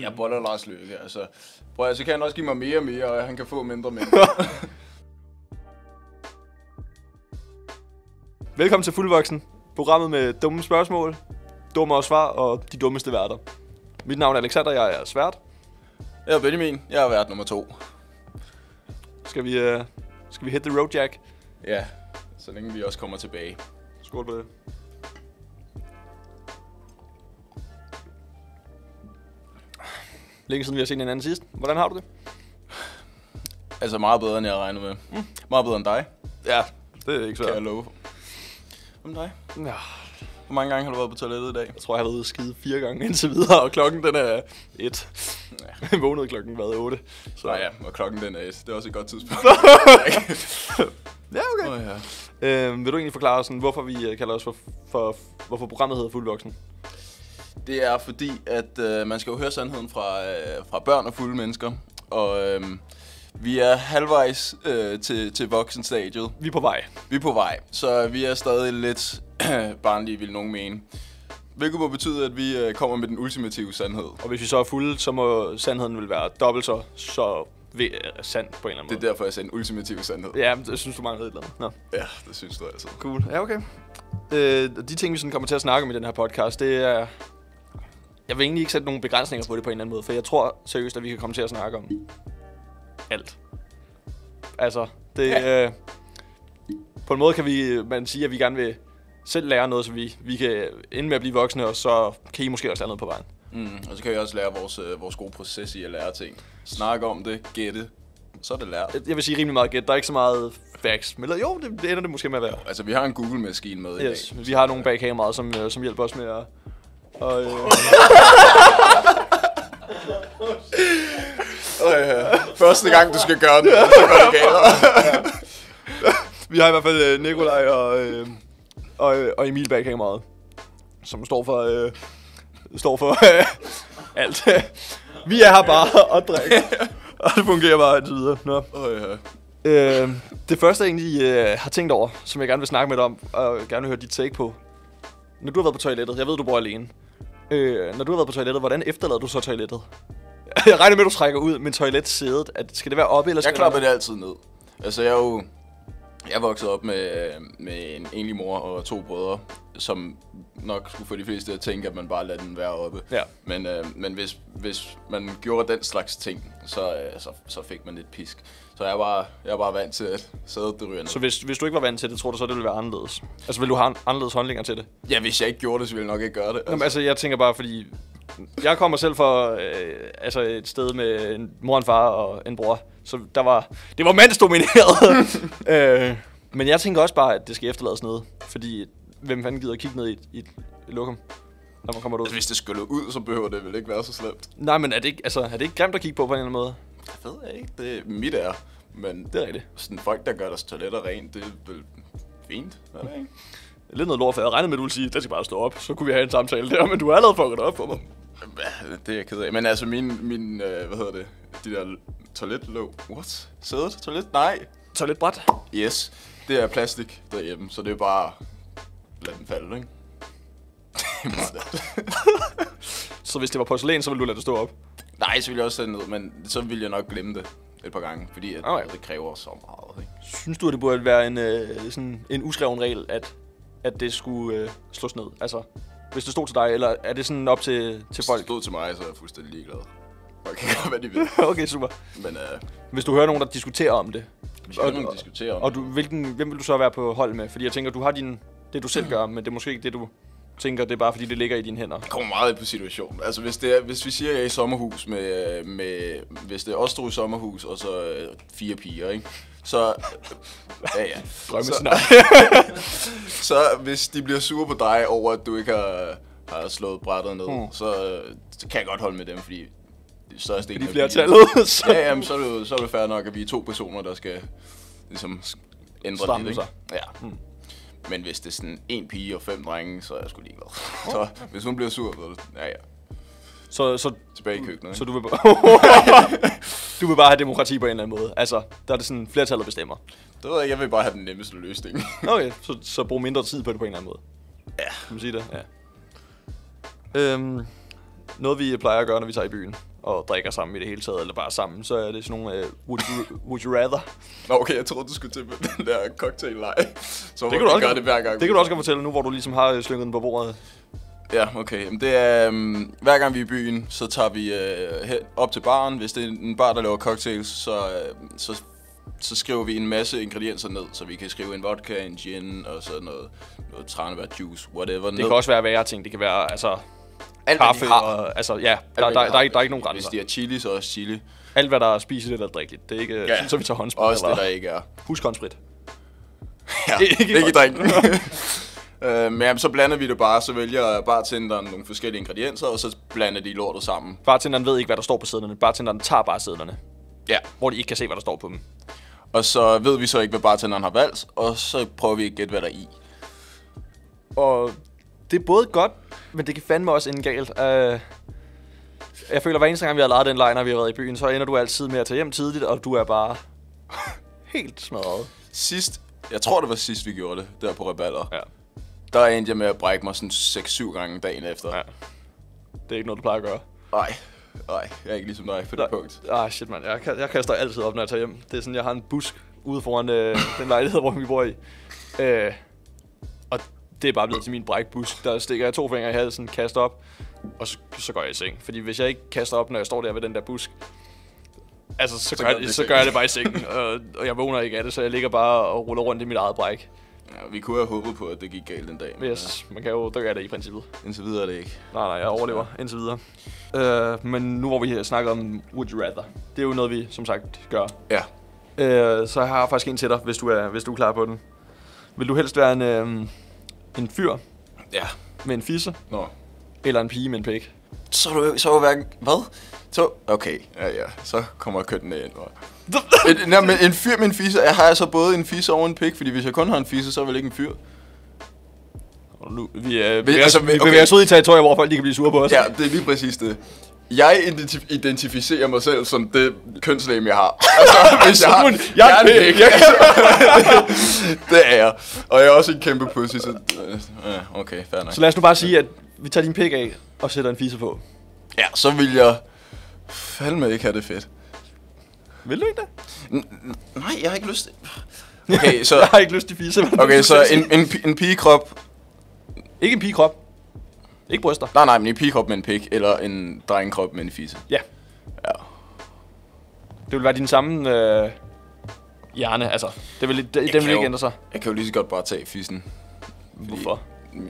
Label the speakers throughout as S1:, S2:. S1: Jeg boller Lars Løkke, altså. Prøv at, så kan han også give mig mere og mere, og han kan få mindre og mindre.
S2: Velkommen til Fuldvoksen, programmet med dumme spørgsmål, dumme svar og de dummeste værter. Mit navn er Alexander, jeg er svært.
S1: jeg er Benjamin, jeg er vært nummer to.
S2: Skal vi, øh, skal vi hit the road, Jack?
S1: Ja, så længe vi også kommer tilbage.
S2: Skål på det. Længe siden vi har set hinanden sidst. Hvordan har du det?
S1: Altså meget bedre, end jeg regnede med. Mm. Meget bedre end dig,
S2: Ja, det er ikke
S1: kan jeg
S2: svært.
S1: love. Om dig?
S2: Ja,
S1: Hvor mange gange har du været på toilettet i dag?
S2: jeg tror, jeg har været ude og skide fire gange indtil videre, og klokken den er et. Jeg vågnede klokken været 8. Så
S1: Nej ja, og klokken den er et. Det er også et godt tidspunkt.
S2: ja okay.
S1: oh, ja.
S2: Øh, vil du egentlig forklare, sådan, hvorfor vi øh, kalder os for, for, hvorfor programmet hedder Fuldvoksen?
S1: Det er fordi, at øh, man skal jo høre sandheden fra, øh, fra børn og fulde mennesker. Og øh, vi er halvvejs øh, til, til voksenstadiet.
S2: Vi er på vej.
S1: Vi er på vej, så vi er stadig lidt barnlige, vil nogen mene. Hvilket må betyde, at vi øh, kommer med den ultimative sandhed.
S2: Og hvis vi så er fulde, så må sandheden vil være dobbelt så, så ved, øh, sand på en eller anden
S1: Det er derfor, jeg sagde den ultimative sandhed.
S2: måde. Ja, men det synes du manglede et eller andet. Nå.
S1: Ja, det synes du altså.
S2: Cool. Ja, okay. Øh, og de ting, vi sådan kommer til at snakke om i den her podcast, det er... Jeg vil egentlig ikke sætte nogen begrænsninger på det på en eller anden måde, for jeg tror seriøst, at vi kan komme til at snakke om alt. Altså, det... Ja. Øh, på en måde kan vi, man sige, at vi gerne vil selv lære noget, så vi, vi kan ende med at blive voksne, og så kan I måske også lære noget på vejen.
S1: Mm, og så kan vi også lære vores, øh, vores gode proces i at lære ting. Snakke om det, gætte, så er det lært.
S2: Jeg vil sige rimelig meget gæt. Der er ikke så meget facts. Men eller jo, det, det ender det måske med at være.
S1: Altså, vi har en Google-maskine med i
S2: Yes,
S1: dag.
S2: vi har nogle bag kameraet, som, øh, som hjælper os med at... Og, øh,
S1: Øh, første gang, du skal gøre det, så går det galt.
S2: vi har i hvert fald øh, Nikolaj og, øh, og, øh, og Emil bag kameraet, som står for, øh, står for øh, alt. vi er her bare og drikker, og det fungerer bare indtil videre. Nå.
S1: Øh, øh.
S2: Øh, det første, jeg egentlig øh, har tænkt over, som jeg gerne vil snakke med dig om, og gerne vil høre dit take på. Når du har været på toilettet, jeg ved, du bor alene. Øh, når du har været på toilettet, hvordan efterlader du så toilettet? jeg regner med, at du trækker ud med toiletsædet. At, skal det være oppe, eller skal
S1: Jeg klapper
S2: det
S1: det altid ned. Altså, jeg er jo... Jeg voksede op med, med en enlig mor og to brødre, som nok skulle få de fleste til at tænke, at man bare lader den være oppe.
S2: Ja.
S1: Men, øh, men hvis, hvis man gjorde den slags ting, så, øh, så, så fik man lidt pisk. Så jeg er bare, jeg er bare vant til, at sædet det ryger ned.
S2: Så
S1: Så...
S2: hvis, hvis du ikke var vant til det, tror du så, det ville være anderledes? Altså, vil du have an- anderledes holdninger til det?
S1: Ja, hvis jeg ikke gjorde det, så ville jeg nok ikke gøre det.
S2: Jamen,
S1: Altså,
S2: altså, jeg tænker bare, fordi... Jeg kommer selv fra øh, altså et sted med en mor, en far og en bror, så der var, det var mandsdomineret. øh, men jeg tænker også bare, at det skal efterlades noget, fordi hvem fanden gider at kigge ned i et, i et lokum, når man kommer derud?
S1: altså, hvis det skulle ud, så behøver det vel ikke være så slemt.
S2: Nej, men er det, ikke, altså, er det ikke grimt at kigge på på en eller anden måde?
S1: Jeg ved jeg ikke. Det er mit er. Men
S2: Det er rigtigt.
S1: sådan folk, der gør deres toiletter rent, det er vel fint. Er det ikke?
S2: Lidt noget lort, for jeg havde regnet med, at du ville sige, at det skal bare stå op, så kunne vi have en samtale der, men du har allerede fucket op for mig.
S1: Ja, Det er jeg ked af. Men altså, min, min øh, hvad hedder det, de der toiletlåg, what? Sædet? Toilet? Nej.
S2: Så lidt bræt.
S1: Yes, det er plastik derhjemme, så det er bare, lad den falde, ikke? Det er meget nemt.
S2: Så hvis det var porcelæn, så ville du lade det stå op.
S1: Nej, så ville jeg også sætte ned, men så ville jeg nok glemme det et par gange, fordi at,
S2: Okay.
S1: okay. det kræver så meget, ikke?
S2: Synes du, at det burde være en, øh, sådan en uskreven regel, at, at det skulle øh, slås ned? Altså, hvis det stod til dig, eller er det sådan op til, til
S1: Folk
S2: folk?
S1: stod til mig, så er jeg fuldstændig ligeglad. Folk kan gøre, hvad de vil,
S2: okay, super.
S1: men øh,
S2: Hvis du hører nogen, der diskuterer om det,
S1: vi skal
S2: Og-
S1: ikke nogen diskutere om
S2: og du, hvilken, hvem vil du så være på hold med? Fordi jeg tænker, du har din, det, du selv gør, men det er måske ikke det, du tænker, det er bare fordi, det ligger i dine hænder.
S1: kommer meget på situationen. Altså hvis, det er, hvis vi siger, at jeg er i sommerhus med, øh, med hvis det er os to i sommerhus, og så øh, fire piger, ikke? Så, ja, ja. Så, så hvis de bliver sure på dig over, at du ikke har, har slået brættet ned,
S2: Hmm.
S1: hmm. så, øh, så kan jeg godt holde med dem, fordi det største
S2: Fordi flertallet, så-
S1: Ja, jamen, så er det jo så er det fair nok, at vi er to personer, der skal ligesom s- ændre
S2: Stramme
S1: lidt, ikke?
S2: sig.
S1: Ja. Hmm. Men hvis det er sådan en pige og fem drenge, så er jeg sgu ligeglad. Så hvis hun bliver sur, så ja, ja.
S2: Så, så,
S1: Tilbage i køkkenet,
S2: så
S1: ikke?
S2: du vil bare... du vil bare have demokrati på en eller anden måde. Altså, der er det sådan, flertallet bestemmer.
S1: Det ved jeg, ikke, jeg vil bare have den nemmeste løsning.
S2: Okay, så, så brug mindre tid på det på en eller anden måde. Ja. Kan man sige det? Ja. Øhm, Noget, vi plejer at gøre, når vi tager i byen og drikker sammen i det hele taget, eller bare sammen, så er det sådan nogle uh, would, you, would you rather.
S1: Nå, okay, jeg troede, du skulle til den der cocktail-leg. Så
S2: Det kan, du også,
S1: gøre det hver gang.
S2: det kan du også godt fortælle nu, hvor du ligesom har øh, slynget den på bordet.
S1: Ja, okay. Jamen, det er, um, hver gang vi er i byen, så tager vi øh, hen, op til baren. Hvis det er en bar, der laver cocktails, så, øh, så, så skriver vi en masse ingredienser ned. Så vi kan skrive en vodka, en gin og sådan noget, noget tranebær juice, whatever.
S2: Det kan også være værre ting. Det kan være, altså,
S1: alt, hvad de
S2: kaffe
S1: har.
S2: og... Altså, ja, der,
S1: Alt,
S2: der,
S1: hvad
S2: der,
S1: de
S2: der,
S1: har.
S2: er ikke, der er ikke nogen
S1: Hvis
S2: grænser.
S1: de er chili, så også chili.
S2: Alt, hvad der er spiseligt eller drikkeligt, det er ikke ja. så vi tager håndsprit.
S1: Også
S2: eller...
S1: det, der ikke er.
S2: Husk håndsprit.
S1: Ja,
S2: Ikke i
S1: ikke, ikke i
S2: drinken.
S1: drinken. øh, men jamen, så blander vi det bare, så vælger bartenderen nogle forskellige ingredienser, og så blander de lortet sammen.
S2: Bartenderen ved ikke, hvad der står på sæderne. Bartenderen tager bare sæderne,
S1: Ja,
S2: hvor de ikke kan se, hvad der står på dem.
S1: og så ved vi så ikke, hvad bartenderen har valgt, og så prøver vi at gætte, hvad der er i.
S2: Og det er både godt, men det kan fandme også ende galt. Uh, jeg føler, hver eneste gang, vi har lejet den lejr, når vi har været i byen, så ender du altid med at tage hjem tidligt, og du er bare helt smadret.
S1: Sidst, jeg tror det var sidst, vi gjorde det, der på Reballer,
S2: Ja.
S1: der endte jeg med at brække mig sådan 6-7 gange dagen efter.
S2: Ja. Det er ikke noget, du plejer at gøre.
S1: Nej, nej, jeg er ikke ligesom dig på det punkt.
S2: Ah, shit, mand. Jeg, ka- jeg kaster altid op, når jeg tager hjem. Det er sådan, jeg har en busk ude foran øh, den lejlighed, hvor vi bor i. Øh, og det er bare blevet til min brækbusk. Der stikker jeg to fingre i halsen, kaster op, og så, så går jeg i seng. Fordi hvis jeg ikke kaster op, når jeg står der ved den der busk, altså, så, så, gør,
S1: gør
S2: jeg,
S1: du det
S2: det,
S1: i
S2: så
S1: sengen.
S2: gør jeg det bare i sengen. Og, og jeg vågner ikke af det, så jeg ligger bare og ruller rundt i mit eget bræk.
S1: Ja, vi kunne have håbet på, at det gik galt den dag, men yes.
S2: Yes, man kan jo dø af det i princippet.
S1: ja, indtil videre er det ikke.
S2: Nej, nej, jeg overlever indtil videre. Øh, men nu hvor vi snakker om Would You Rather, det er jo noget, vi som sagt gør
S1: Ja,
S2: Øh, så jeg har faktisk en til dig, hvis du er, hvis du er klar på den. Vil du helst være en, øh, en fyr
S1: ja,
S2: med en fisse,
S1: nå.
S2: eller en pige med en pik?
S1: Så er du, så er du hverken... Hvad? Så... Okay, ja, ja. Så kommer kønnene ind. Og... en, nej, men en fyr med en fisse, har jeg så både en fisse og en pik? Fordi hvis jeg kun har en fisse, så er jeg vel ikke en fyr?
S2: Og Nu, vi, øh,
S1: Vi-
S2: bevæger,
S1: altså,
S2: altså, vi
S1: okay.
S2: bevæger os ud i territorier, hvor folk de kan blive sure på os.
S1: Ja, det er lige præcis det. Jeg identif- identificerer mig selv som det kønslæge, jeg har. Altså, hvis jeg har...
S2: Hun, jeg er en pik.
S1: det er jeg. Og jeg er også en kæmpe pussy, så... Ja, okay, fair nok.
S2: Så lad os nu bare sige, at vi tager din pik af og sætter en fisse på.
S1: Ja, så vil jeg... Fandme ikke have det fedt.
S2: Vil du ikke det?
S1: Nej, jeg har ikke lyst til... Okay, så...
S2: Jeg har ikke lyst til fisse. men-
S1: Okay, så en, en, pi- en pigekrop...
S2: Ikke en pigekrop. Ikke bryster.
S1: Nej, nej, men en pigekrop med en pik, eller en drengekrop med en fisse.
S2: Ja.
S1: Ja.
S2: Det vil være din samme øh, hjerne, altså. Det vil, det, den
S1: kan
S2: vil ikke
S1: jo-
S2: ændre sig.
S1: Jeg kan jo lige så godt bare tage fissen.
S2: Hvorfor?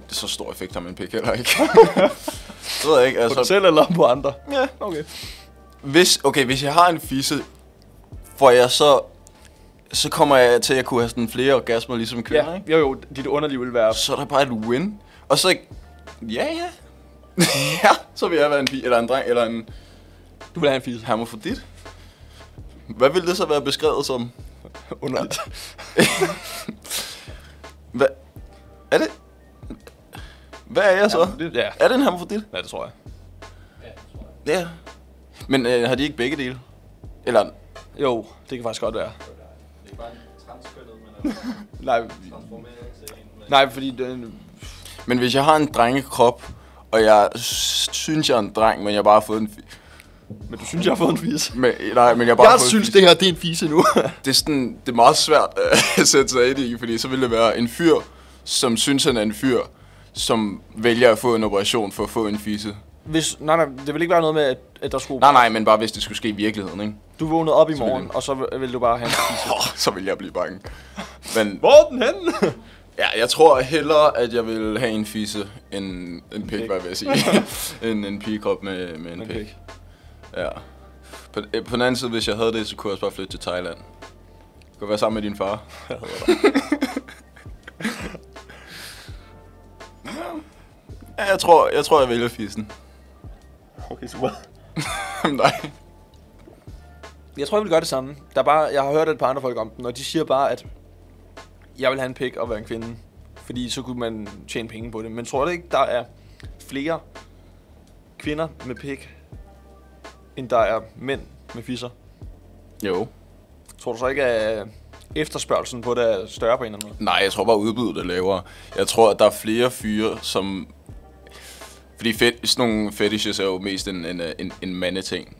S1: Så stor effekt har min pik heller ikke. det ved jeg ikke,
S2: På dig
S1: altså...
S2: selv eller på andre? Ja, okay.
S1: Hvis, okay, hvis jeg har en fisse, får jeg så... Så kommer jeg til at kunne have sådan flere orgasmer ligesom kvinder,
S2: Ja,
S1: ikke?
S2: jo jo, dit underliv vil være
S1: Så er der bare et win. Og så... Ja, ja. ja, så vil jeg være en pige, eller en dreng, eller en
S2: Du vil have en fise.
S1: hermofrodit. Hvad vil det så være beskrevet som?
S2: Underligt.
S1: Hvad? Er det? Hvad er jeg så?
S2: Ja, det, ja.
S1: Er det en hermafrodit?
S2: ja, det tror jeg.
S1: Ja. Men øh, har de ikke begge dele? Eller...
S2: Jo, det kan faktisk godt være.
S3: Det er bare en transkønnet, men altså
S2: Nej,
S3: transformeret til en med
S2: nej fordi den,
S1: Men hvis jeg har en drengekrop, og jeg s- synes, jeg er en dreng, men jeg bare har fået en... Fi-
S2: men du synes, jeg har fået en fise.
S1: men, nej, men jeg bare har fået en fis-
S2: her det er en fise nu.
S1: det er sådan, det er meget svært øh, at sætte sig ind i, fordi så ville det være en fyr, som synes, han er en fyr, som vælger at få en operation for at få en fisse.
S2: Hvis, nej, nej, det vil ikke være noget med, at, at der skulle...
S1: Nej, nej, men bare hvis det skulle ske i virkeligheden, ikke?
S2: Du vågnede op i
S1: Selvfølgelig.
S2: morgen, og så vil- vil du bare have en fise.
S1: Oh, så ville jeg blive bange. Men
S2: Hvor er den henne?
S1: Ja, jeg tror hellere, at jeg vil have en fisse end en pik,
S2: pik.
S1: hvad vil jeg sige. end en pigekrop med, med en,
S2: En
S1: pik.
S2: pik.
S1: Ja. På, øh, på den anden side, hvis jeg havde det, så kunne jeg også bare flytte til Thailand. Du kan være sammen med din far. ja, jeg tror, jeg, tror, jeg vælger fissen.
S2: okay, super.
S1: Nej.
S2: Jeg tror, jeg vil gøre det samme. Der er bare, jeg har hørt et par andre folk om den, og de siger bare, at jeg vil have en pik og være en kvinde. Fordi så kunne man tjene penge på det. Men tror du ikke, der er flere kvinder med pik, end der er mænd med fisser?
S1: Jo.
S2: Tror du så ikke, at efterspørgelsen på det er større på en eller anden måde?
S1: Nej, jeg tror bare, udbuddet er lavere. Jeg tror, at der er flere fyre, som... Fordi fet, sådan nogle fetishes er jo mest en, en, en, en mandeting.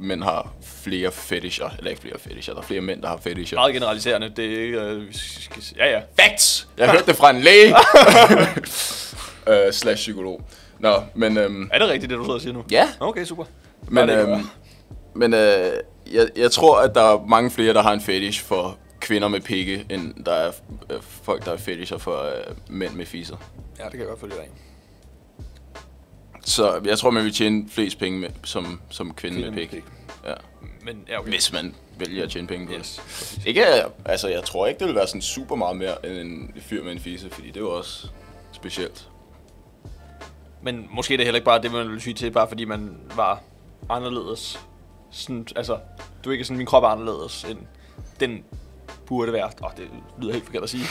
S1: Mænd har flere fetisher, eller ikke flere fetisher, der er flere mænd, der har fetisher.
S2: Meget generaliserende. Det er ikke... Øh, vi skal se- ja, ja.
S1: Facts! Jeg hørte det fra en læge! uh, slash psykolog. Nå, men... Øhm,
S2: Er det rigtigt, det du sidder og siger nu?
S1: ja,
S2: Okay, super.
S1: men,
S2: det kan
S1: øhm,
S2: være.
S1: men øh, jeg, jeg tror, at der er mange flere, der har en fetish for kvinder med pikke, end der er øh, folk, der har fetisher for øh, mænd med fiser.
S2: Ja, det kan jeg godt følge dig i.
S1: Så jeg tror, man vil tjene flest penge med, som, som kvinde,
S2: Kvinde
S1: med
S2: med
S1: pik.
S2: pik.
S1: Ja.
S2: Men ja, okay.
S1: Hvis man vælger at tjene penge på yes.
S2: Yes.
S1: det. Ikke, øh, altså, jeg tror ikke, det vil være sådan super meget mere end en fyr med en fise, fordi det er jo også specielt.
S2: Men måske er det heller ikke bare det, man ville sige til, bare fordi man var anderledes. Sådan, altså, du er ikke sådan, min krop er anderledes, end den burde være. Åh, oh, det lyder helt forkert at sige.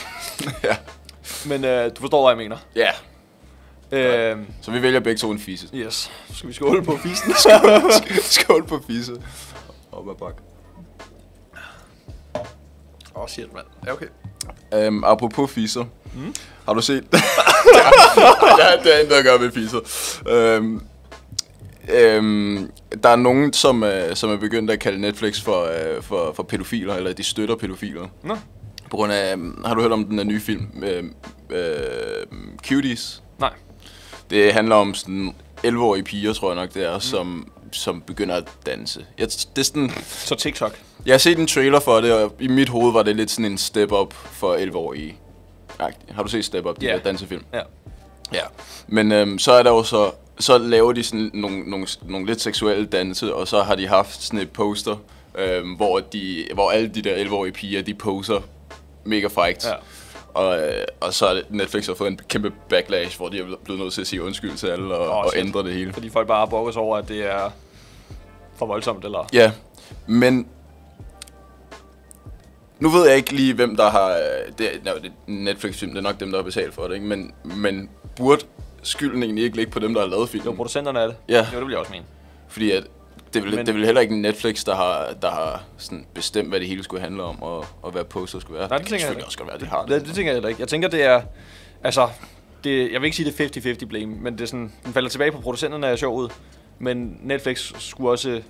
S1: ja.
S2: Men øh, du forstår, hvad jeg mener.
S1: ja,
S2: Øh,
S1: så vi vælger begge to en fise.
S2: yes. Så Skal vi skåle på fisen?
S1: Skål på fise. Op ad bak.
S2: Åh, oh, shit, mand. Ja, okay.
S1: Um, apropos fiser. Mm. Har du set... ja, det er ikke noget at gøre med fiser. Um, Øhm, der er nogen, som, øh, som er begyndt at kalde Netflix for, øh, for, for pædofiler, eller de støtter pædofiler.
S2: Nå.
S1: På grund af, øhm, har du hørt om den her nye film, øh, øh, Cuties?
S2: Nej.
S1: Det handler om sådan 11-årige piger, tror jeg nok det er, mm. som, som begynder at danse. Jeg, det er sådan,
S2: Så TikTok.
S1: jeg har set en trailer for det, og i mit hoved var det lidt sådan en step-up for 11-årige. Agtigt. Har du set Step Up, de
S2: Ja.
S1: yeah. der dansefilm?
S2: Ja.
S1: Ja. Men øhm, så er der jo så, så laver de sådan nogle, nogle, nogle lidt seksuelle danse, og så har de haft sådan et poster, øhm, hvor, de, hvor alle de der 11-årige piger, de poser mega frækt.
S2: Ja.
S1: Og, øh, og så har Netflix har fået en kæmpe backlash, hvor de er blevet nødt til at sige undskyld til alle og,
S2: Åh,
S1: oh, og
S2: shit.
S1: ændre det hele.
S2: Fordi folk bare brokker sig over, at det er for voldsomt, eller...
S1: Ja, men... Nu ved jeg ikke lige, hvem der har... øh, Det, no, det er Netflix-film, det er nok dem, der har betalt for det, ikke? Men, men burde skylden egentlig ikke ligge på dem, der har lavet
S2: Jo,
S1: filmen?
S2: producenterne af det.
S1: Ja.
S2: Jo, det vil jeg også mene.
S1: Fordi at det vil,
S2: Men-
S1: det vil heller ikke Netflix, der har, der har sådan bestemt, hvad det hele skulle handle om, og, og hvad poster skulle være.
S2: Nej, det
S1: det kan
S2: tænker jeg
S1: selvfølgelig
S2: ikke.
S1: også godt være, de har
S2: Det, det tænker jeg heller ikke. Jeg tænker, det er... Altså, det, jeg vil ikke sige, det er 50-50 blame, men det er sådan, den falder tilbage på producenterne af showet. Men Netflix skulle også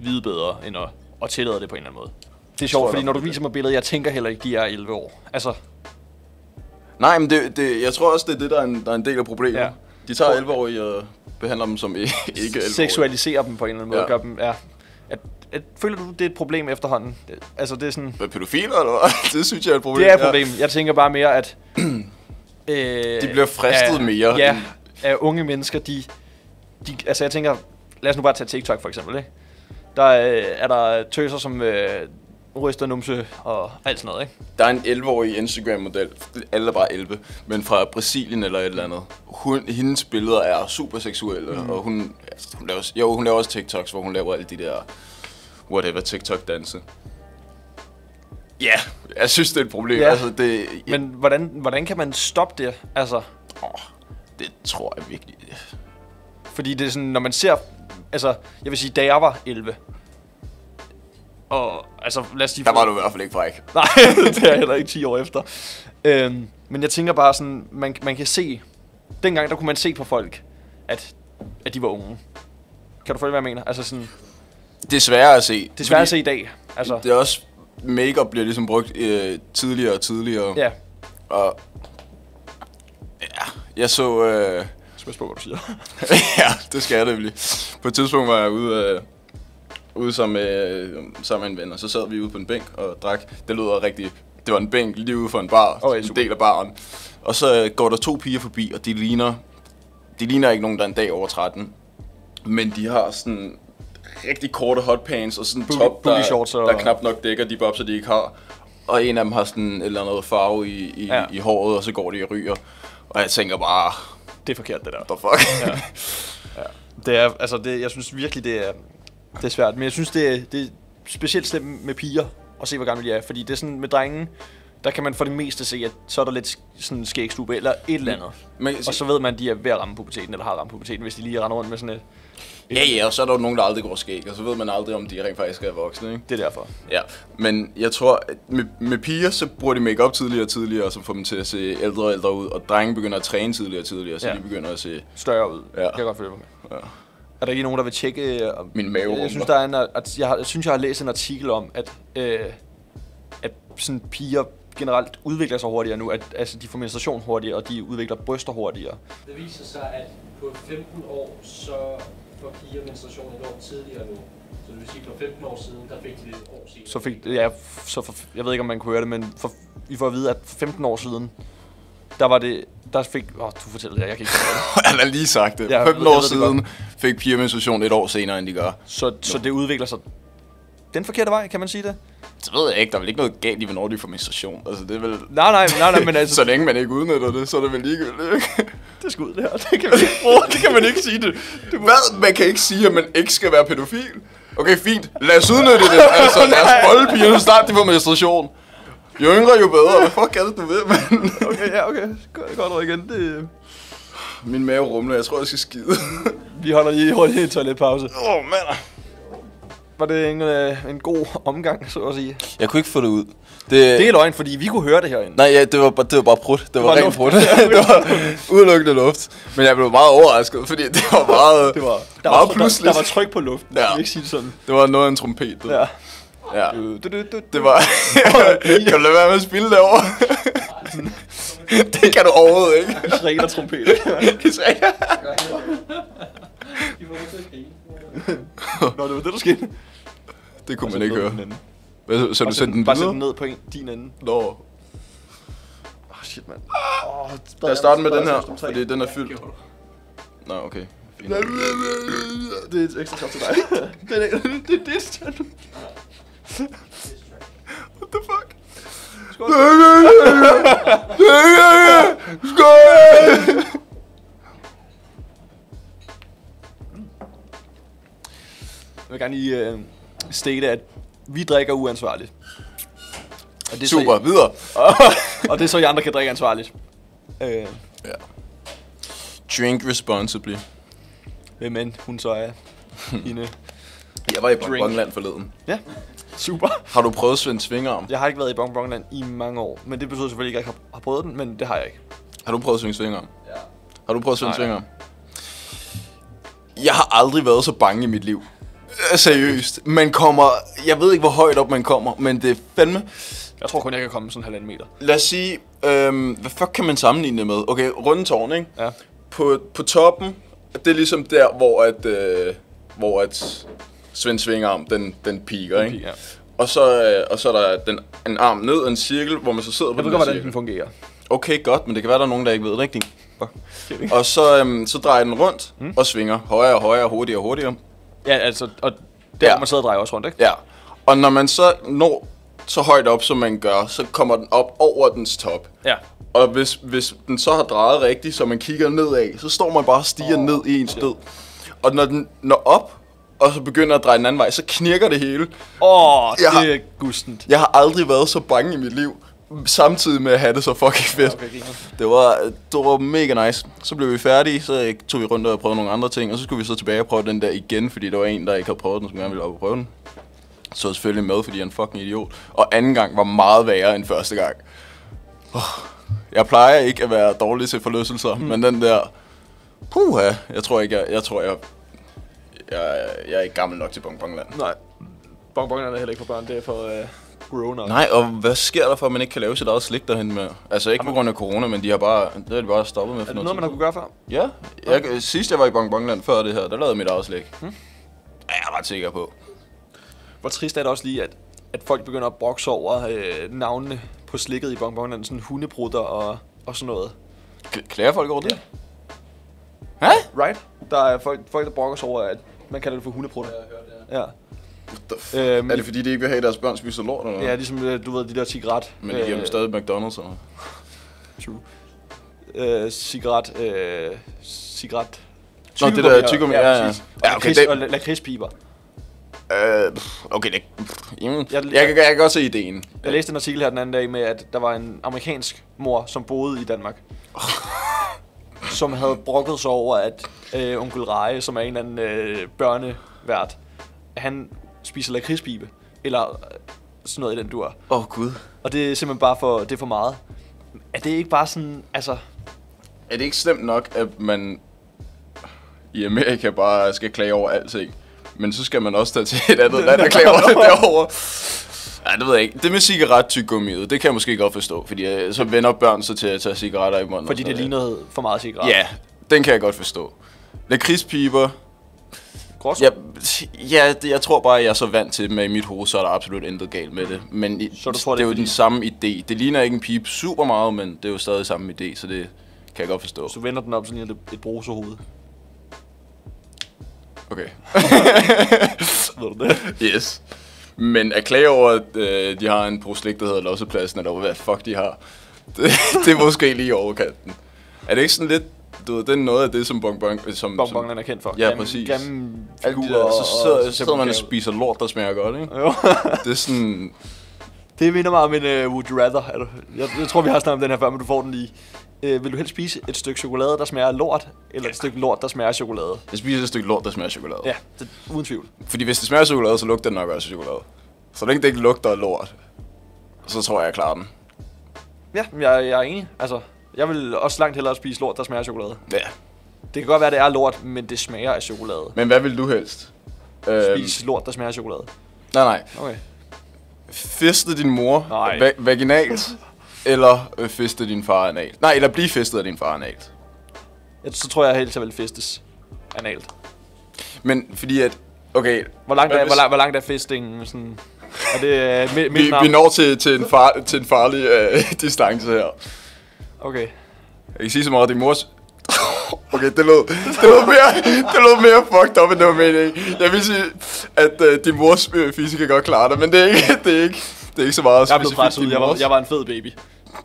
S2: vide bedre, end at, at tillade det på en eller anden måde. Det er
S1: tror
S2: sjovt,
S1: jeg
S2: fordi
S1: nok,
S2: når du
S1: det er
S2: viser mig billedet, jeg tænker heller ikke, de er 11 år. Altså,
S1: Nej, men det, det, jeg tror også, det er det, der er en, der er en del af problemet.
S2: Ja.
S1: Ja. De tager 11-årige og behandler dem som i- ikke 11-årige.
S2: seksualiserer dem på en eller anden måde. Ja.
S1: Ja.
S2: Gør dem, ja. At, at, føler du, det er et problem efterhånden? Det- Altså, det er sådan...
S1: Hvad, pædofiler, eller hvad? Det synes jeg er et problem.
S2: Det er et
S1: Ja.
S2: problem. Jeg tænker bare mere, at... øh,
S1: De bliver fristet
S2: af-
S1: mere
S2: Ja,
S1: end-
S2: af unge mennesker, de, de... Altså, jeg tænker... Lad os nu bare tage TikTok, for eksempel, ikke? Der øh, er der tøser, som øh, ryster numse og alt sådan noget, ikke?
S1: Der er en 11-årig Instagram-model, alle er bare 11, men fra Brasilien eller et eller andet. Hun, hendes billeder er super seksuelle, mm. og hun, altså, hun, laver, jo, hun laver også TikToks, hvor hun laver alle de der whatever TikTok-danse. Ja, yeah, jeg synes, det er et problem.
S2: Ja.
S1: Yeah. Altså, det, ja,
S2: Men hvordan, hvordan kan man stoppe det? Altså,
S1: åh, det tror jeg virkelig.
S2: Fordi det er sådan, når man ser... Altså, jeg vil sige, da jeg var 11... Og altså, lad os sige...
S1: Der var du i hvert fald ikke fræk.
S2: Nej, det er jeg heller ikke 10 år efter. Øhm, men jeg tænker bare sådan, man, man kan se... Dengang, der kunne man se på folk, at, at de var unge. Kan du følge, hvad jeg mener? Altså sådan,
S1: Det er sværere at se.
S2: det er svært at
S1: fordi
S2: se i dag. Altså,
S1: Det er også, makeup bliver ligesom brugt øh, tidligere og tidligere.
S2: ja.
S1: Og, ja, jeg så... Øh,
S2: Spørgsmål, hvad du siger.
S1: ja, det skal jeg da blive. På et tidspunkt var jeg ude, øh, ude sammen, med, sammen med en ven, og så sad vi ude på en bænk og drak. Det lød rigtig... Det var en bænk lige ude for en bar,
S2: Okay,
S1: okay, en
S2: super.
S1: del af baren. Og så øh, går der to piger forbi, og de ligner... De ligner ikke nogen, der er en dag over 13. Men de har sådan rigtig korte hotpants og sådan en
S2: Booty-
S1: top, der,
S2: booty shorts og-
S1: der knap nok dækker de bobser, de ikke har. Og en af dem har sådan et eller andet farve i, i,
S2: Ja.
S1: ja. i håret, og så går de og ryger. Og jeg tænker bare,
S2: Det er forkert, det
S1: the
S2: der.
S1: fuck? Ja.
S2: Det er, altså, det, jeg synes virkelig, det er, det er svært. Men jeg synes, det er, det er specielt slemt med piger at se, hvor gamle de er. Fordi det er sådan, med drenge, der kan man for det meste se, at så er der lidt sådan skægstube eller et eller andet.
S1: Men,
S2: Og så ved man, at de er ved at ramme puberteten, eller har ramt puberteten, hvis de lige render rundt med sådan et
S1: Ja, ja, og så er der jo nogen, der aldrig går skæg, og så ved man aldrig, om de rent faktisk er voksne, ikke?
S2: Det er derfor.
S1: Ja, men jeg tror, at med, med piger, så bruger de makeup tidligere og tidligere, som får dem til at se ældre og ældre ud, og drenge begynder at træne tidligere og tidligere, så
S2: Ja.
S1: ja. de begynder at se...
S2: Større ud.
S1: Ja.
S2: Ja. Jeg kan godt følge mig. Ja. Er der ikke nogen, der vil tjekke... øh, om-
S1: Min mave
S2: Jeg synes,
S1: rumler.
S2: der er en, at jeg, har, jeg synes, jeg har læst en artikel om, at, øh, at sådan piger generelt udvikler sig hurtigere nu. At, altså, de får menstruation hurtigere, og de udvikler bryster hurtigere.
S4: Det viser sig, at på 15 år, så får piger menstruation et år tidligere nu. Så det vil sige, at for 15 år siden, der fik de det et år senere.
S2: Så fik, ja, så for, jeg ved ikke, om man kunne høre det, men for, vi får at vide, at for 15 år siden, der var det, der fik, åh, oh, du fortæller det, jeg kan ikke
S1: Han har lige sagt det.
S2: Ja, jeg
S1: Ja,
S2: ved-
S1: 15
S2: jeg
S1: år
S2: ved det godt.
S1: siden fik piger menstruation et år senere, end de gør.
S2: Så, så det udvikler sig den forkerte vej, kan man sige det?
S1: Så ved jeg ikke, der er vel ikke noget galt i, hvornår de får menstruation. Altså, det er vel...
S2: Nej, nej, nej, nej men altså,
S1: så længe man ikke udnytter det, så er det vel ligegyldigt, ikke?
S2: det skal ud det her. Det kan man ikke bruge, det kan man ikke sige det.
S1: Det Hvad? Man kan ikke sige, at man ikke skal være pædofil. Okay, fint. Lad os udnytte det. Altså, lad os bolde pigerne, snart de får menstruation. Jo yngre, jo bedre. Hvad fuck er det, du ved, mand?
S2: Okay, ja, okay. Godt, godt råd igen. Det,
S1: Min mave rumler. Jeg tror, jeg skal skide.
S2: vi holder lige hurtigt en toiletpause.
S1: Åh, oh, mand.
S2: Var det en, øh, en god omgang, så at sige?
S1: Jeg kunne ikke få det ud. Det,
S2: Det er løgn, fordi vi kunne høre det herinde.
S1: Nej, ja, det var, bare- det var bare prut. Det, var
S2: var
S1: rent
S2: luft.
S1: prut. det var udelukkende luft. Men jeg blev meget overrasket, fordi det var meget,
S2: Det var,
S1: der meget
S2: var, der,
S1: pludseligt.
S2: der var tryk på luften, ja.
S1: Ja.
S2: jeg vil ikke sige det sådan.
S1: Det var noget af en trompet. Det,
S2: Ja.
S1: ja.
S2: Du, du, du,
S1: det var... kan du lade være med at spille det over? det kan du overhovedet ikke.
S2: Ring og trompet.
S1: Det sagde jeg.
S4: De var nødt til at grine.
S2: Nå, det var det, der skete.
S1: Det kunne man ikke høre. Hvad, så
S2: Og
S1: du sendte den
S2: bare sætte den
S1: videre?
S2: ned på en, din ende.
S1: Nå.
S2: Åh, oh, shit, mand.
S1: Lad os starte med den her, fordi den er fyldt. Nå, okay. Fint.
S2: Det er et ekstra shot til dig. det er det, det, det er stjerne.
S1: What the fuck?
S2: Skål.
S1: Skål!
S2: Jeg vil gerne lige øh, state, at vi drikker uansvarligt. Og det er
S1: Super,
S2: Så,
S1: videre.
S2: og det er så, I andre kan drikke ansvarligt. Øh,
S1: Ja. Drink responsibly.
S2: hvem end hun så er. Hende.
S1: Jeg var i
S2: Drink.
S1: Bonbonland forleden.
S2: Ja, super.
S1: Har du prøvet Svend Svingarm?
S2: Jeg har ikke været i Bonbonland i mange år, men det betyder selvfølgelig ikke, at jeg ikke har, har prøvet den, men det har jeg ikke.
S1: Har du prøvet Svend Svingarm?
S4: Ja.
S1: Har du prøvet Svend
S2: Nej.
S1: Svingarm? Jeg har aldrig været så bange i mit liv. Øh, Seriøst. Man kommer... Jeg ved ikke, hvor højt op man kommer, men det er fandme...
S2: Jeg tror kun, jeg kan komme sådan halvanden meter.
S1: Lad os sige... Øhm, hvad fuck kan man sammenligne det med? Okay, rundetårn, ikke?
S2: Ja.
S1: På, på toppen, det er ligesom der, hvor at... Øh, hvor at Svend Svingarm, den, den piker, ikke?
S2: Ja.
S1: Og så, øh, og så er der den, en arm ned og en cirkel, hvor man så sidder på
S2: Jeg ved
S1: den
S2: godt,
S1: her
S2: hvordan
S1: cirkel.
S2: den fungerer.
S1: Okay, godt, men det kan være, der er nogen, der ikke ved det rigtigt. Og så, øhm, så drejer den rundt mm. og svinger højere og højere, hurtigere og hurtigere.
S2: Ja, altså, og der,
S1: Ja.
S2: ja. man sidder og drejer også rundt, ikke?
S1: Ja. Og når man så når så højt op, som man gør, så kommer den op over dens top.
S2: Ja.
S1: Og hvis, hvis den så har drejet rigtigt, så man kigger nedad, så står man bare og stiger oh, ned i ens død. Og når den når op, og så begynder at dreje den anden vej, så knirker det hele.
S2: Åh,
S1: Jeg har-
S2: det er gustent.
S1: Jeg har aldrig været så bange i mit liv, samtidig med at have det så fucking fedt.
S2: Okay, griner.
S1: Det var, det var mega nice. Så blev vi færdige, så øh, tog vi rundt og prøvede nogle andre ting, og så skulle vi så tilbage og prøve den der igen, fordi der var en, der ikke havde prøvet den, som gerne ville op og prøve den. Så var jeg selvfølgelig med, fordi han er en fucking idiot. Og anden gang var meget værre end første gang. Oh, jeg plejer ikke at være dårlig til forlystelser, mm. men den der... Puha, jeg tror ikke, jeg, jeg tror, jeg, jeg, jeg er ikke gammel nok til Bongbongland.
S2: Nej. Bonbonerne er heller ikke for børn, det er for øh, grown up.
S1: Nej, og hvad sker der for, at man ikke kan lave sit eget slik derhen med? Altså ikke på grund af corona, men de har bare, det har de bare stoppet med for
S2: Er det noget, man har
S1: tid.
S2: kunne gøre før?
S1: Ja, jeg, sidst jeg var i Bongbongland før det her, der lavede jeg mit eget slik. Hmm? Jeg er ret sikker på.
S2: Hvor trist er det også lige, at, at folk begynder at brokse over øh, navnene på slikket i bonbonerne, sådan hundebrutter og, og sådan noget.
S1: K- Klager folk over det? Hæ?
S2: Right? Der er folk, folk der brokker sig over, at man kalder det for hundebrutter.
S4: Jeg har hørt det.
S2: Ja.
S1: Øhm,
S2: Øhm,
S1: er det fordi, de ikke vil have, at deres børn spiser lort eller noget?
S2: Ja, ligesom øh, du ved, de der cigaret.
S1: Men de giver dem
S2: øh,
S1: stadig McDonald's eller
S2: True. Øh, cigaret, øh, cigaret.
S1: Nå, det der tyggegummi, ja, ja.
S2: præcis. Og
S1: Ja, okay,
S2: lakrids-
S1: det-
S2: Og la- lakridspiber.
S1: Øh, pff, okay, det... pff, jamen, jeg,
S2: Jeg-
S1: jeg, kan- jeg kan godt se ideen.
S2: Jeg læste en artikel her den anden dag med, at der var en amerikansk mor, som boede i Danmark. som havde brokket sig over, at øh, onkel Reje, som er en eller anden øh, børnevært, han spiser lakridspibe, eller øh, sådan noget i den dur.
S1: Åh, oh, Gud.
S2: Og det er simpelthen bare for, det er for meget. Er det ikke bare sådan, altså...
S1: Er det ikke slemt nok, at man i Amerika bare skal klage over alting? Men så skal man også tage til et andet land og klage over det derovre. Nej, det ved jeg ikke. Det med cigarettyggummiet, det kan jeg måske godt forstå, fordi øh, så vender børn sig til at tage cigaretter i munden. og
S2: Fordi det
S1: sådan noget.
S2: ligner for meget cigaret.
S1: Ja, den kan jeg godt forstå. Lakridspiber,
S2: Gråzone.
S1: Ja, ja, det, jeg tror bare, at jeg er så vant til det, men i mit hoved, så er der absolut intet galt med det. Men i,
S2: Så du tror, det
S1: det
S2: er
S1: er jo
S2: fordi-
S1: den samme idé. Det ligner ikke en pipe super meget, men det er jo stadig samme idé, så det kan jeg godt forstå.
S2: Så vender den op sådan et, et brusehoved.
S1: Okay,
S2: Ved du det?
S1: yes. Men at klage over, at øh, de har en proslik, der hedder Lossepladsen, eller hvad fuck de har, det, det er måske lige i overkanten. Er det ikke sådan lidt, du ved, det er noget af det, som bonbon... Som, som-
S2: Bonbonerne er kendt for.
S1: Ja,
S2: Grimme-
S1: præcis.
S2: Grimme
S1: Alle de
S2: figurer
S1: der, så sidder,
S2: og-
S1: så sidder man og spiser lort, der smager godt, ikke?
S2: Jo.
S1: Det er sådan...
S2: det minder mig om en uh, would you rather. Er du- Jeg, jeg tror, vi har snakket om den her før, men du får den lige. Uh, vil du helst spise et stykke chokolade, der smager af lort, eller et stykke lort, der smager af chokolade?
S1: Jeg spiser et stykke lort, der smager af chokolade.
S2: Ja, det, uden tvivl.
S1: Fordi hvis det smager af chokolade, så lugter det nok også af chokolade. Så længe det ikke lugter af lort, så tror jeg, jeg klarer den.
S2: Ja, men jeg, jeg er enig. Altså, jeg vil også langt hellere spise lort, der smager af chokolade.
S1: Ja.
S2: Det kan godt være, det er lort, men det smager af chokolade.
S1: Men hvad vil du helst? Øhm,
S2: Spis lort, der smager af chokolade.
S1: Nej, nej.
S2: Okay.
S1: Fiste din mor
S2: Nej.
S1: va- vaginalt, eller øh, fiste din far analt. Nej, eller blive fistet af din far analt.
S2: Jeg, så tror jeg helt, jeg vil festes analt.
S1: Men fordi at, okay,
S2: Hvor langt,
S1: Hvad
S2: er,
S1: hvis-
S2: hvor, langt, hvor langt er festingen? Sådan, er det øh, mi-
S1: vi,
S2: min arm?
S1: vi når til, til, en, far, til en farlig øh, distance her.
S2: Okay.
S1: Jeg kan sige så meget, at din mors... Okay, det lød, det lød, mere, det lød mere fucked up, end det var meningen. Jeg vil sige, at øh, din mors øh, fisse kan godt klare det, men det er ikke, det er ikke, det er ikke så meget
S2: Jeg er blevet
S1: specifikt
S2: presset ud.
S1: din
S2: Jeg var,
S1: mors.
S2: jeg var en fed baby.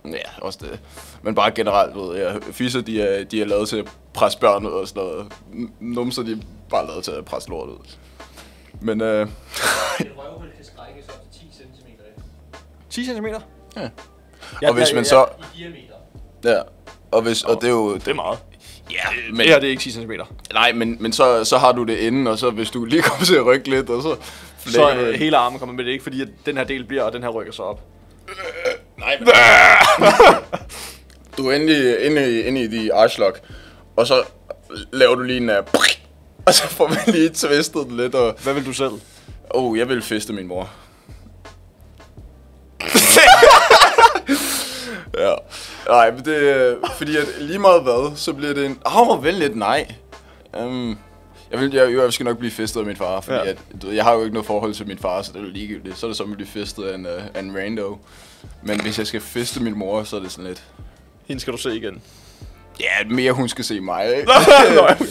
S1: Ja, også det. Men bare generelt, ved jeg, fisser, de er, de er lavet til at presse børn ud og sådan noget. N- Numser, de er bare lavet til at presse lort ud. Men øh,
S4: Et røvhul kan strækkes op til 10 cm af.
S2: 10 cm?
S1: Ja.
S2: Ja,
S1: og hvis
S2: ja,
S1: man
S2: ja,
S1: så...
S4: I diameter.
S1: Ja, og, hvis, og det er jo...
S2: Det er meget.
S1: Ja,
S2: Men... Det her det er ikke 10 cm.
S1: Nej, men, men så, så har du det inden, og så hvis du lige kommer til at rykke lidt, og så...
S2: Så
S1: du
S2: øh,
S1: det.
S2: hele armen kommer med det er ikke, fordi at den her del bliver, og den her rykker sig op.
S1: Nej, men... du er endelig inde i, inde i de arschlock, og så laver du lige en... øh, Og så får man lige tvistet den lidt, og...
S2: Hvad vil du selv?
S1: Oh, jeg vil feste min mor. ja. Nej, men det... øh, Fordi at lige meget hvad, så bliver det en... Åh, oh, vel lidt nej. Um, jeg, vil, jeg, jeg skal nok blive festet af min far, fordi
S2: Ja.
S1: ja. at, du, ved, jeg har jo ikke noget forhold til min far, så det er jo ligegyldigt. Så er det som at blive festet af en, uh, af en rando. Men hvis jeg skal feste min mor, så er det sådan lidt...
S2: Hende skal du se igen.
S1: Ja, mere hun skal se mig, ikke?
S2: Nå, okay.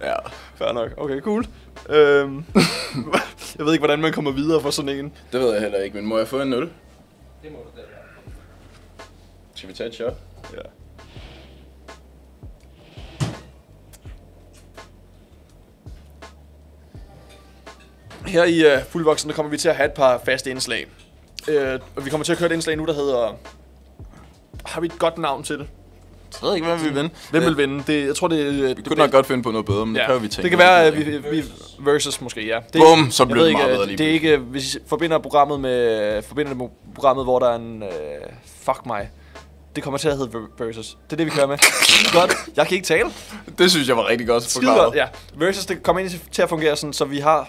S1: ja.
S2: Fair nok. Okay, cool. Øhm, jeg ved ikke, hvordan man kommer videre for sådan en.
S1: Det ved jeg heller ikke, men må jeg få en 0?
S4: Det må du da være.
S1: Skal vi tage et shot?
S2: Ja. Her i uh, Fuldvoksen, der kommer vi til at have et par faste indslag. Uh, og vi kommer til at køre et indslag nu, der hedder... Har vi et godt navn til det?
S1: Jeg ved ikke, hvem vi vil vinde.
S2: Hvem vil vinde? Det, jeg tror, det er...
S1: Vi kunne nok godt finde på noget bedre, men ja. det kræver vi tænke.
S2: Det kan være, at vi, vi... Versus måske, ja. Det,
S1: Bum, så
S2: jeg
S1: blev
S2: ved
S1: det
S2: ikke,
S1: meget
S2: øh,
S1: bedre
S2: Det
S1: lige
S2: er ikke... øh, Hvis I forbinder programmet med... Forbinder det med programmet, hvor der er en... Øh, fuck mig. Det kommer til at hedde Ver- Versus. Det er det, vi kører med. godt. Jeg kan ikke tale.
S1: Det synes jeg var rigtig godt
S2: Skide
S1: forklaret.
S2: godt, ja. Versus, det kommer ind til- til at fungere sådan, så vi har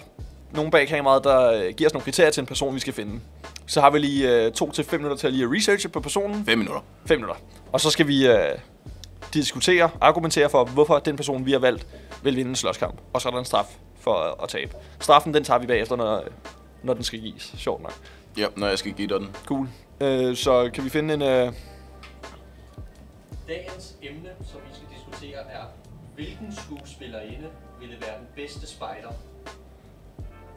S2: nogen bag kameraet, der øh, giver os nogle kriterier til en person, vi skal finde. Så har vi lige 2 til 5 minutter til at lige at researche på personen.
S1: Fem minutter.
S2: 5 minutter. Og så skal vi øh, diskutere, argumentere for, hvorfor den person, vi har valgt, vil vinde en slåskamp. Og så er der en straf for øh, at tabe. Straffen, den tager vi bagefter, når, øh, når den skal gives. Sjovt nok.
S1: Ja, når jeg skal give dig den.
S2: Cool. Øh, så kan vi finde en... Øh,
S4: Dagens emne, som vi skal diskutere, er, hvilken skuespillerinde ville være den bedste spider?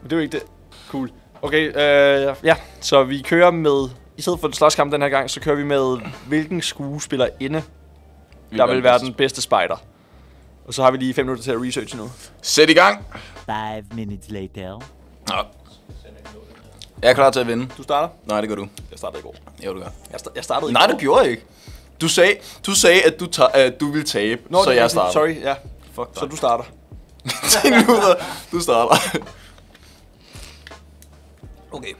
S2: Men det er jo ikke det. Cool. Okay, øh, ja. Så vi kører med... I stedet for en slåskamp den her gang, så kører vi med, hvilken skuespillerinde, der vil være den bedste spejder. Og så har vi lige 5 minutter til at researche nu.
S1: Sæt i gang!
S5: Five minutes later.
S1: Nå. Jeg er klar til at vinde.
S2: Du starter?
S1: Nej, det gør du.
S2: Jeg startede i går.
S1: Jo, du gør.
S2: Jeg, sta- jeg startede i
S1: Nej,
S2: går.
S1: det gjorde jeg ikke. Du sagde, du sagde at du, ta- at du ville tabe, Nå, så
S2: det er
S1: jeg
S2: rigtigt.
S1: starter.
S2: Sorry, ja.
S1: Fuck
S2: Så du starter.
S1: starter. nu, så du starter.
S2: Okay.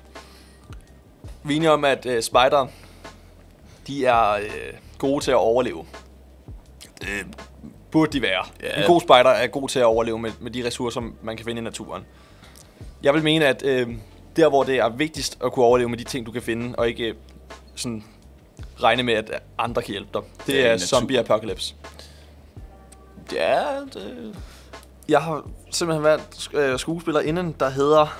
S2: Vi er enige om, at øh, spider, de er øh, gode til at overleve. Det burde de være.
S1: Ja.
S2: En god spider er god til at overleve med, med de ressourcer, man kan finde i naturen. Jeg vil mene, at øh, der, hvor det er vigtigst at kunne overleve med de ting, du kan finde, og ikke øh, sådan regne med, at andre kan hjælpe dig, det,
S1: Det er
S2: det er,
S1: i
S2: er
S1: naturen.
S2: zombie apocalypse.
S1: Ja, det...
S2: Jeg har simpelthen været sk- øh, skuespiller inden, der hedder...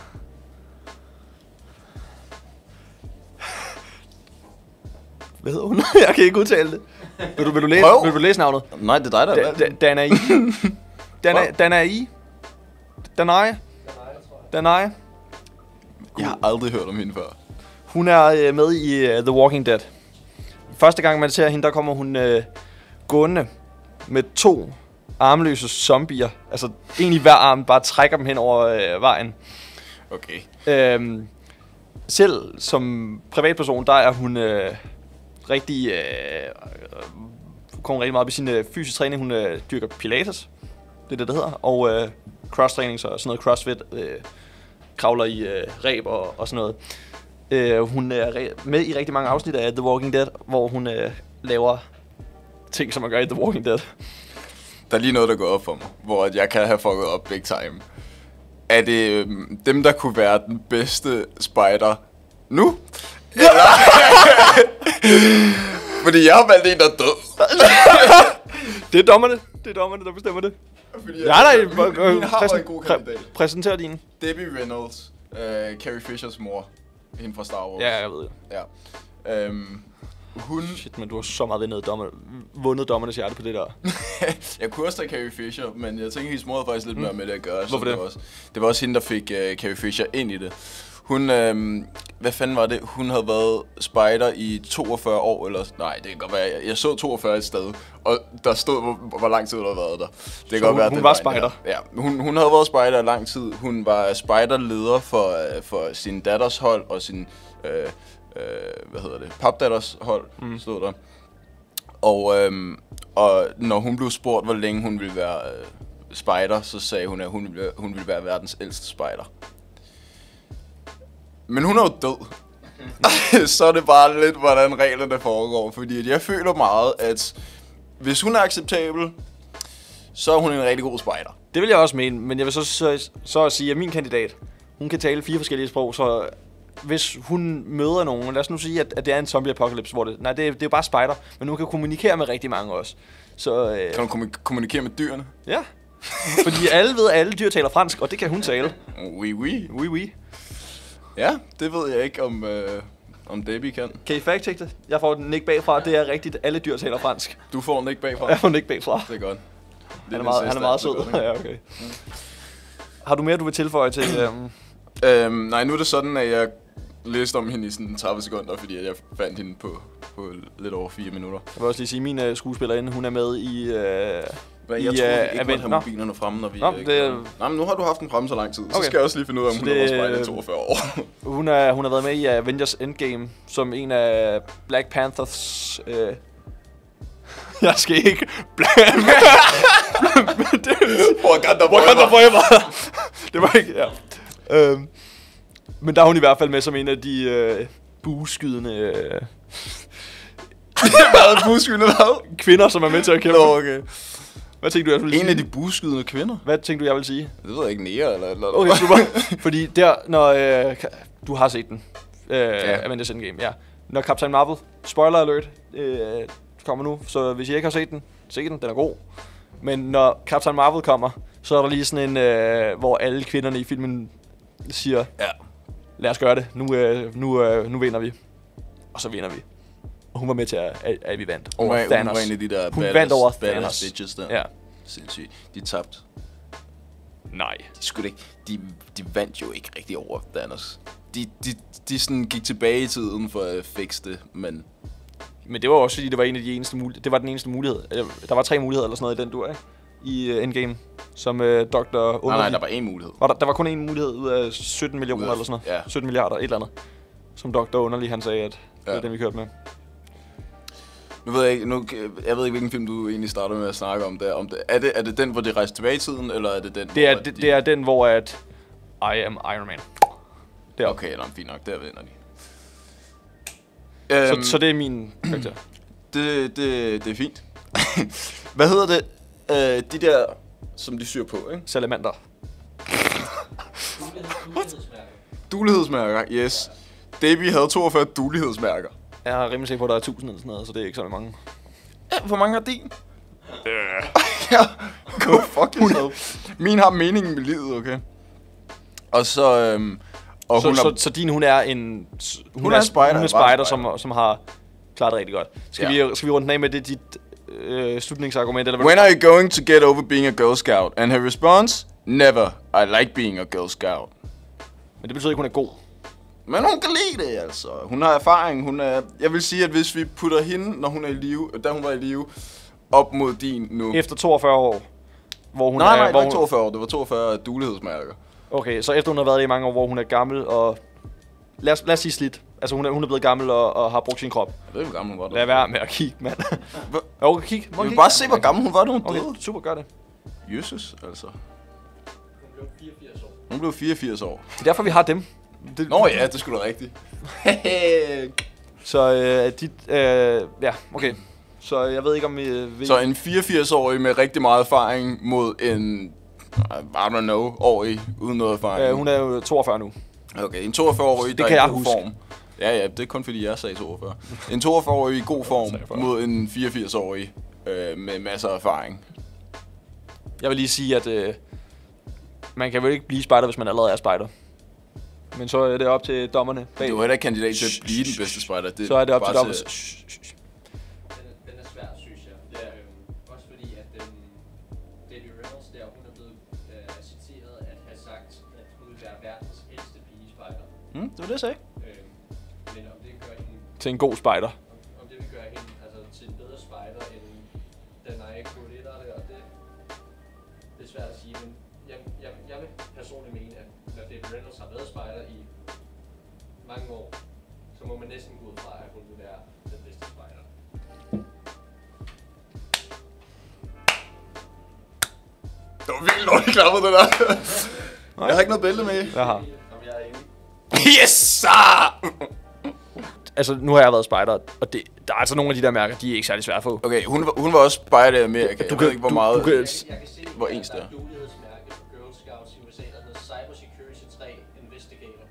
S2: Hvad hedder hun? Jeg kan ikke udtale det. Vil du, vil du, læse,
S1: Prøv.
S2: vil du læse navnet?
S1: Nej, det er dig, der
S2: Da- da- Danae. Danae. Danae. Danae. Danae.
S1: Jeg har aldrig hørt om hende før.
S2: Hun er øh, med i øh, The Walking Dead. Første gang, man ser hende, der kommer hun øh, gående med to armløse zombier. Altså, en i hver arm, bare trækker dem hen over øh, vejen.
S1: Okay.
S2: Øhm, selv som privatperson, der er hun øh, rigtig... Øh, øh, kommer rigtig meget op i sin øh, fysisk træning. Hun øh, dyrker pilates, det er det, det hedder. Og øh, cross-træning, så sådan noget crossfit, øh, kravler i øh, ræb og, og sådan noget. Øh, hun er re- med i rigtig mange afsnit af The Walking Dead, hvor hun øh, laver ting, som man gør i The Walking Dead.
S1: Der er lige noget, der går op for mig, hvor at jeg kan have fucket op big time. Er det øhm, dem, der kunne være den bedste spider nu? Eller... Fordi jeg har valgt en, der er død.
S2: Det er dommerne, det er dommerne, der bestemmer det.
S1: Fordi
S2: Ja, nej, øh,
S1: min, min har været en god
S2: præsen-
S1: kandidat.
S2: præ- præsenter din.
S1: Debbie Reynolds, øh, Carrie Fishers mor, hende fra Star Wars.
S2: Ja, jeg ved det.
S1: ja. Øhm, hun...
S2: Shit, men du har så meget vundet, dommer, vundet dommernes hjerte på det der.
S1: jeg kunne også tage Carrie Fisher, men jeg tænker, hendes mor havde faktisk lidt mere med det at gøre. så
S2: Mm. Hvorfor det?
S1: Var også, det var også hende, der fik uh, Carrie Fisher ind i det. Hun, øhm, hvad fanden var det? Hun havde været spider i 42 år, eller... Nej, det kan godt være. Jeg, jeg så 42 et sted, og der stod, hvor, hvor lang tid hun havde været der. Det kan
S2: hun- hun
S1: det
S2: var
S1: en, der-
S2: spider?
S1: Ja, hun, hun havde været spejder i lang tid. Hun var spejderleder for, øh, for sin datters hold og sin, øh, øh, hvad hedder det, papdatters hold, mm. stod der. Og, øhm, og når hun blev spurgt, hvor længe hun ville være øh, spejder, så sagde hun, at hun ville, være- hun ville være verdens ældste spejder. Men hun er jo død. så er det bare lidt, hvordan reglerne foregår. Fordi at jeg føler meget, at hvis hun er acceptabel, så er hun en rigtig god spejder.
S2: Det vil jeg også mene, men jeg vil så, så, så at sige, at min kandidat, hun kan tale fire forskellige sprog, så hvis hun møder nogen, lad os nu sige, at, at det er en zombie apocalypse, hvor det, nej, det, er- det er jo bare spider, men hun kan kommunikere med rigtig mange også. Så øh,
S1: Kan hun kommuni- kommunikere med dyrene?
S2: ja, fordi alle ved, at alle dyr taler fransk, og det kan hun tale.
S1: Oui, oui.
S2: Oui, oui.
S1: Ja, det ved jeg ikke, om, øh, om Debbie kan.
S2: Kan I fact det? Jeg får den ikke bagfra, det er rigtigt, alle dyr taler fransk.
S1: Du får den ikke bagfra.
S2: Jeg får den ikke bagfra.
S1: Det er godt. Det
S2: Han er
S1: min
S2: meget, han
S1: sidste,
S2: er meget
S1: det
S2: sød.
S1: godt, ikke?
S2: Ja, okay. Har du mere, du vil tilføje til? Øhm,
S1: Øhm, nej, nu er det sådan, at jeg læste om hende i sådan 30 sekunder, fordi jeg fandt hende på, på lidt over 4 minutter.
S2: Jeg vil også lige sige, at min øh, skuespillerinde, hun er med i... Øh,
S1: Hvad,
S2: i,
S1: jeg troede, vi ikke måtte
S2: Aven-
S1: have
S2: Nå,
S1: mobilerne fremme, når vi...
S2: Nå,
S1: øh,
S2: det-
S1: gjorde- Nej, men nu har du haft den fremme så lang tid, så
S2: Okay.
S1: skal jeg også lige finde ud af, om
S2: Så
S1: hun det...
S2: det-
S1: har været i 42 år.
S2: hun, er, hun har været med i Avengers Endgame, som en af Black Panthers... Øh, jeg skal ikke...
S1: Wakanda
S2: Wakanda
S1: forever.
S2: forever! det var ikke... Ja. Øhm, men der er hun i hvert fald med som en af de øh, bueskydende øh,
S1: Hvad buskydende hvad?
S2: kvinder, som er med til at kæmpe.
S1: Nå, okay.
S2: Hvad tænkte du, jeg ville
S1: En af
S2: sige?
S1: de buskydende kvinder?
S2: Hvad tænkte du, jeg ville sige?
S1: Det ved jeg ikke, nære eller eller
S2: Okay, super. Fordi der, når... Øh, ka- du har set den. Øh,
S1: Ja.
S2: ja. Avengers Endgame, ja. Når Captain Marvel, spoiler alert, øh, kommer nu. Så hvis I ikke har set den, se den, den er god. Men når Captain Marvel kommer, så er der lige sådan en, øh, hvor alle kvinderne i filmen siger,
S1: ja.
S2: lad os gøre det, nu, øh, nu, øh, nu vinder vi. Og så vinder vi. Og hun var med til, at, at, at vi vandt.
S1: Hun
S2: Over
S1: var, hun
S2: Thanos.
S1: var en af de der
S2: hun
S1: badass,
S2: vandt over
S1: badass
S2: Thanos.
S1: bitches der.
S2: Ja.
S1: Sindssygt. De tabte.
S2: Nej.
S1: De, skulle ikke, de, de vandt jo ikke rigtig over Thanos. De, de, de sådan gik tilbage i tiden for at fikse det, men
S2: Men det var også fordi, det var, en af de eneste mul- det var den eneste mulighed. Eller, Der var tre muligheder eller sådan noget i den dur, ikke? I uh, Endgame, som uh, Dr. Under...
S1: nej, nej, der var en mulighed.
S2: var der, der var kun én mulighed ud af 17 millioner
S1: Ud af-
S2: eller sådan noget.
S1: ja.
S2: 17 milliarder, et eller andet. Som Dr. Underlig, han sagde, at ja. det
S1: Ja.
S2: var den, vi kørte med.
S1: Nu ved jeg ikke, nu, jeg ved ikke, hvilken film du egentlig starter med at snakke om der. Om det, er, det, er det den, hvor de rejser tilbage i tiden, eller er det den,
S2: Det er,
S1: hvor
S2: det, det er den, hvor at I am Iron Man.
S1: de...
S2: Der.
S1: Okay, nå, fint nok, der vinder de.
S2: Så,
S1: Øhm,
S2: så det er min karakter.
S1: Det, det, det er fint. Hvad hedder det? Øh, de der, som de syr på, ikke?
S2: Salamander.
S4: Mulighedsmærker.
S1: Dulighedsmærker, yes. Davy havde 42 dulighedsmærker.
S2: Jeg er rimelig sikker på, at der er 1000 eller sådan noget, så det er ikke så mange.
S1: Ja, hvor mange har din? ja, go fuck yourself. Min har meningen med livet, okay? Og så... Øhm, og
S2: så,
S1: hun
S2: så,
S1: har,
S2: så din, hun er en... s- Hun,
S1: er en
S2: s-
S1: spider,
S2: Hun
S1: bare
S2: er
S1: en
S2: spider,
S1: spider.
S2: som, som har klaret det rigtig godt. Skal,
S1: Ja.
S2: vi, skal vi runde den af med det, dit øh, slutningsargument? Eller hvad?
S1: When are you going to get over being a Girl Scout? And her response? Never. I like being a Girl Scout.
S2: Men det betyder ikke, hun er god.
S1: Men hun kan lide det, altså. Hun har erfaring. Hun er, jeg vil sige, at hvis vi putter hende, når hun er i live, da hun var i live, op mod din nu.
S2: Efter 42 år, hvor hun
S1: nej,
S2: er...
S1: nej, det
S2: hvor
S1: var ikke
S2: hun-
S1: 42 år. Det var 42 dulighedsmærker.
S2: Okay, så efter hun har været det i mange år, hvor hun er gammel og... Lad os, lad os sige slidt. Altså, hun er, hun er blevet gammel og, og har brugt sin krop.
S1: Jeg ved ikke, hvor gammel hun var.
S2: Lad være med at kigge, mand.
S1: Hva-
S2: Jo, kig.
S1: Jeg
S2: Må kigge.
S1: vil bare se, hvor gammel hun var, da hun døde.
S2: Okay, super, gør det.
S1: Jesus, altså.
S4: Hun blev 84 år.
S1: Hun blev 84 år.
S2: Det er derfor, vi har dem. Det,
S1: Nå ja, det skulle da rigtigt.
S2: Så øh, dit... Øh, ja, okay. Så jeg ved ikke, om vi... Øh, vi
S1: Så en 84-årig med rigtig meget erfaring mod en, I don't know, årig uden noget erfaring.
S2: øh, hun er jo 42 nu.
S1: Okay, en 42-årig,
S2: Det
S1: der
S2: kan
S1: er i
S2: jeg
S1: god
S2: huske.
S1: form. Ja, ja, det er kun fordi, jeg sagde 42. En 42-årig i god form
S2: 43.
S1: mod en 84-årig øh, med masser af erfaring.
S2: Jeg vil lige sige, at øh, man kan vel ikke blive spejder, hvis man allerede er spejder. Men så er det op til dommerne bag.
S1: Det var heller ikke kandidat til at blive den bedste spejder. Det
S2: så er det op
S1: bare
S2: til dommerne.
S4: Den, er- den er svær, synes jeg. Det er, øhm, også fordi, at den, Debbie Reynolds der, hun er blevet øh, citeret at have sagt, at hun vil være verdens ældste pigespejder.
S1: Hmm, det var det, jeg sagde.
S4: Øhm, men om det gør hende,
S2: Til en god spejder.
S4: om, om det vil gøre hende altså, til en bedre spejder end den Naya Kurita der, og det, det er svært at sige, men jeg, jeg, jeg vil personligt mene, at når Debbie Reynolds har været spejder i mange år, så må man næsten gå ud fra, at hun vil være den bedste spejder.
S1: Det var vildt dårligt klappet, det der. Jeg har ikke noget bælte med.
S2: Jeg har.
S4: Om jeg er enig.
S1: Yes, sir!
S2: Altså, nu har jeg været spejder, og det, der er altså nogle af de der mærker, de er ikke særlig svære at få.
S1: Okay, hun, var- hun var også spejder i Amerika. Du jeg ved ikke, hvor
S2: du-
S1: meget...
S2: du kan-
S4: Jeg, jeg kan se,
S1: Hvor
S4: at
S1: ens
S4: der
S1: det er.
S4: er dulighedsmærke for Girl Scouts i USA, der hedder Cyber Security 3 Investigator.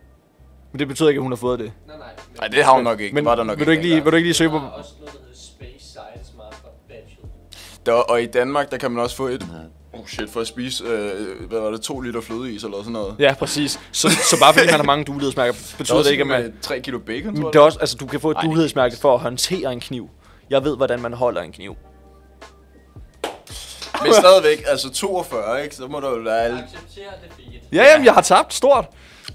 S2: Men det betyder ikke, at hun har fået det.
S4: Nej, nej. Men
S1: Nej, det har hun nok ikke.
S2: Men
S1: Men, var der nok
S2: vil, du ikke lige, vil du ikke lige søge på...
S4: Der er også noget, der hedder Space Science Master Bachelor.
S1: Der, og i Danmark, der kan man også få et... Oh shit, for at spise, øh, hvad var det, to liter flødeis eller sådan noget.
S2: Ja, præcis. Så, så bare fordi man har mange dulighedsmærker, betyder det ikke, at man...
S1: 3 kilo bacon,
S2: Men
S1: tror
S2: det er også, altså, du kan få et
S1: øh, Ej, det er
S2: dulighedsmærke for at håndtere en kniv. Jeg ved, hvordan man holder en kniv.
S1: Men stadigvæk, altså 42, ikke? Så må der jo være alle...
S4: Accepterer det fedt.
S2: Ja, jamen, jeg har tabt stort.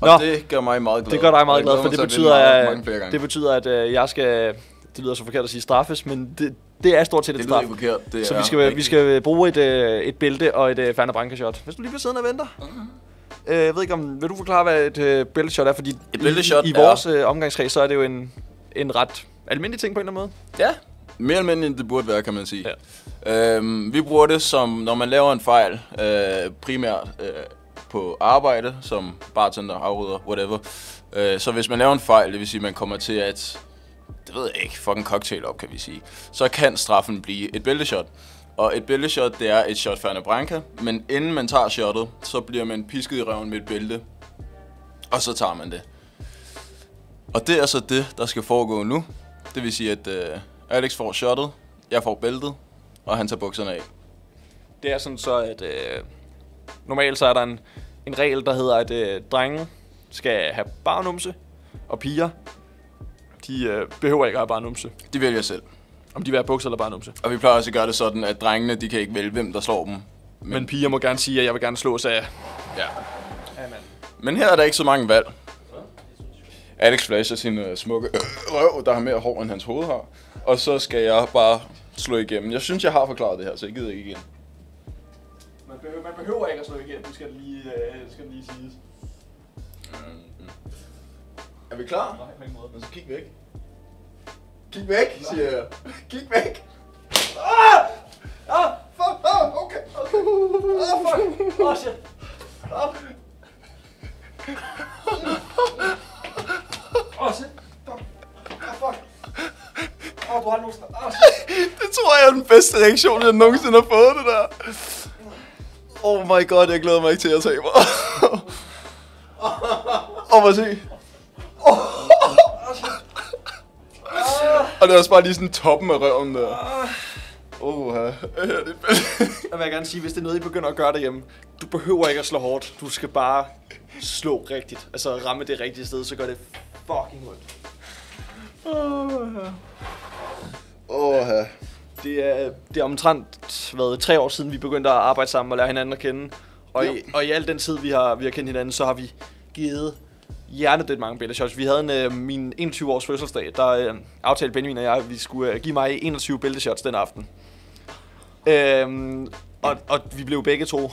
S1: Og
S2: Nå, det,
S1: det gør mig meget glad.
S2: det gør dig meget
S1: Jeg
S2: glad,
S1: glæder
S2: for
S1: mig
S2: det
S1: til at vinde
S2: betyder,
S1: mange,
S2: at,
S1: mange flere gange.
S2: det betyder, at øh, jeg skal... Det lyder så forkert at sige straffes, men det, det er stort set et
S1: det lyder
S2: straf.
S1: ikke forkert. Det
S2: Så
S1: er
S2: vi skal, vi
S1: rigtigt.
S2: skal bruge et, øh, et bælte og et øh, Fernet Branca-shot. Hvis du lige bliver siddende og venter.
S1: Mhm.
S2: Øh, Jeg ved ikke om... Vil du forklare, hvad et øh, bælteshot er? Fordi
S1: Et bælteshot
S2: i, i
S1: er-
S2: vores øh, omgangskreds, så er det jo en, en ret almindelig ting på en eller anden måde.
S1: Ja. Mere almindeligt, end det burde være, kan man sige. Ja. Øhm, vi bruger det som, når man laver en fejl, øh, primært øh, på arbejde, som bartender, afrydder, whatever. Øh, så hvis man laver en fejl, det vil sige, at man kommer til at, det ved jeg ikke, fucking cocktail op, kan vi sige, så kan straffen blive et bælteshot. Og et bælteshot, det er et shot Fernet Branca, men inden man tager shottet, så bliver man pisket i røven med et bælte, og så tager man det. Og det er så det, der skal foregå nu. Det vil sige, at øh, Alex får shottet, jeg får bæltet, og han tager bukserne af.
S2: Det er sådan så, at øh, normalt så er der en, en regel, der hedder, at øh, drenge skal have barnumse, og piger, de øh, behøver ikke at have barnumse.
S1: De vælger selv.
S2: Om de vil have bukser eller barnumse.
S1: Og vi plejer også at gøre det sådan, at drengene, de kan ikke vælge, hvem der slår dem.
S2: Men, Men piger må gerne sige, at jeg vil gerne slås af...
S1: Ja. Men her er der ikke så mange valg. Alex flasher sin øh, smukke røv, der har mere hår, end hans hoved har. Og så skal jeg bare slå igennem. Jeg synes, jeg har forklaret det her, så jeg gider ikke igen.
S2: Man behøver, man behøver ikke at slå igennem, skal det lige, øh, skal det lige siges.
S1: Mm-hmm. Er vi klar? Nej, på ingen måde. Men så kig væk. Kig væk, siger jeg. Kig væk. Ah! Ah, fuck. Ah, okay. okay. Ah, fuck.
S4: Åh, oh, shit.
S1: Ah.
S4: Åh, oh, shit. Åh, fuck. Åh, oh, du har nogen sådan. Åh, oh, shit.
S1: Det tror jeg er den bedste reaktion, jeg nogensinde har fået, det der. Oh my god, jeg glæder mig ikke til, at jeg taber. Åh, oh, se. Og det er også bare lige sådan toppen af røven der. Åh, ja, det er fedt.
S2: Jeg vil gerne sige, hvis det er noget, I begynder at gøre derhjemme, du behøver ikke at slå hårdt. Du skal bare slå rigtigt. Altså ramme det rigtige sted, så gør det fucking ondt.
S1: Åh, ja.
S2: Det er, det er omtrent været tre år siden, vi begyndte at arbejde sammen og lære hinanden at kende. Og, i, og i al den tid, vi har, vi har kendt hinanden, så har vi givet hjernedødt mange bælteshots. Vi havde en, øh, min 21-års fødselsdag, der øh, aftalte Benjamin og jeg, at vi skulle øh, give mig 21 bælteshots den aften. Øhm, og, og vi blev begge to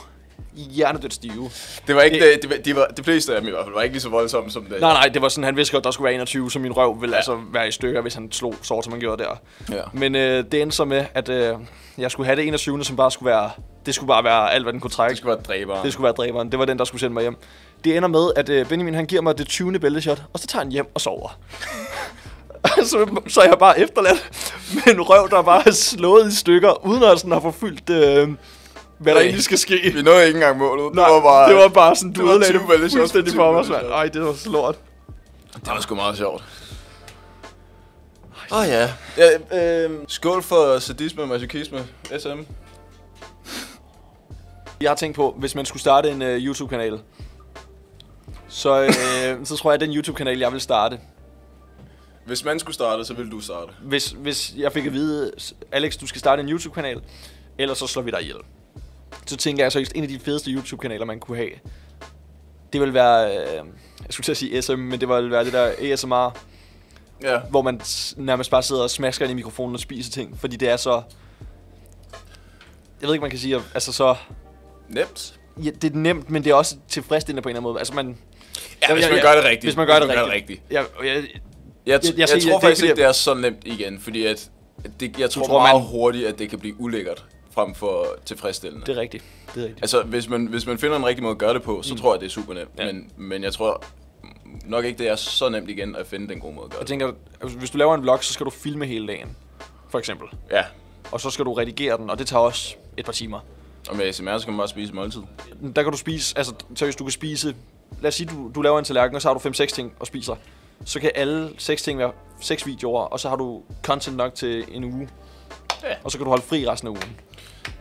S2: hjernedødt stive.
S1: Det var ikke det, det, var, de var, de fleste af dem i hvert fald var ikke lige så voldsomme som det.
S2: Nej, nej, det var sådan, han vidste godt, der skulle være 21, så min røv ville ja. altså være i stykker, hvis han slog sort, som han gjorde der.
S1: Ja.
S2: Men øh, det endte så med, at øh, jeg skulle have det 21. som bare skulle være... Det skulle bare være alt, hvad den kunne trække.
S1: Det skulle være dræbere.
S2: Det skulle være dræberen. Det var den, der skulle sende mig hjem. Det ender med, at øh, Benjamin han giver mig det 20. bælteshot, og så tager han hjem og sover. så, så er jeg bare efterladt med en røv, der bare er slået i stykker, uden at sådan have forfyldt, øh, hvad der
S1: Ej.
S2: egentlig skal ske.
S1: Vi nåede ikke engang målet.
S2: Nej,
S1: det var bare...
S2: det var bare sådan, du
S1: det var
S2: ødelagde
S1: 20
S2: det
S1: bælteshots på
S2: fuldstændig
S1: 20
S2: for mig, mand.
S1: bælteshots.
S2: Ej, det var så lort.
S1: Det var sgu meget sjovt. Åh oh, ja. ja øh, skål for sadisme og masochisme. SM.
S2: Jeg har tænkt på, hvis man skulle starte en uh, YouTube-kanal, så, øh, så tror jeg, at den YouTube-kanal, jeg vil starte,
S1: Hvis man skulle starte, så ville du starte.
S2: hvis, hvis jeg fik at vide, "S- Alex, du skal starte en YouTube-kanal, ellers så slår vi dig ihjel. Så tænker jeg seriøst, en af de fedeste YouTube-kanaler, man kunne have, det vil være, øh, jeg skulle til at sige SM, men det vil være det der ASMR,
S1: Ja.
S2: hvor man s- nærmest bare sidder og smasker ind i mikrofonen og spiser ting, fordi det er så... Jeg ved ikke, man kan sige, altså så...
S1: Nemt.
S2: Ja, det er nemt, men det er også tilfredsstillende på en eller anden måde. Altså man...
S1: Ja, hvis
S2: jeg-
S1: man
S2: jeg-
S1: gør det rigtigt.
S2: Hvis man gør det rigtigt.
S1: rigtigt.
S2: Ja, og
S1: Jeg,
S2: jeg,
S1: jeg,
S2: Jeg- jeg
S1: jeg, jeg
S2: siger,
S1: tror
S2: det er
S1: faktisk
S2: ikke,
S1: ikke,
S2: fordi-
S1: det er så nemt igen, fordi at det, jeg tror,
S2: tror,
S1: tror meget
S2: man-
S1: hurtigt, at det kan blive ulækkert frem for tilfredsstillende.
S2: det er rigtigt. Det er rigtigt.
S1: Altså, hvis man, hvis man finder en rigtig måde at gøre det på, så mm. tror jeg, det er super nemt. Ja. Men, men jeg tror nok ikke, det er så nemt igen at finde den gode måde at gøre
S2: Jeg
S1: det.
S2: tænker, altså, hvis du laver en vlog, så skal du filme hele dagen, for eksempel.
S1: Ja.
S2: Og så skal du redigere den, og det tager også et par timer.
S1: Og med ASMR, så kan man bare spise måltid.
S2: Der kan du spise, altså seriøst, du kan spise... Lad os sige, du, du laver en tallerken, og så har du 5-6 ting og spiser. Så kan alle 6 ting være 6 videoer, og så har du content nok til en uge.
S1: Ja.
S2: Og så kan du holde fri resten af ugen.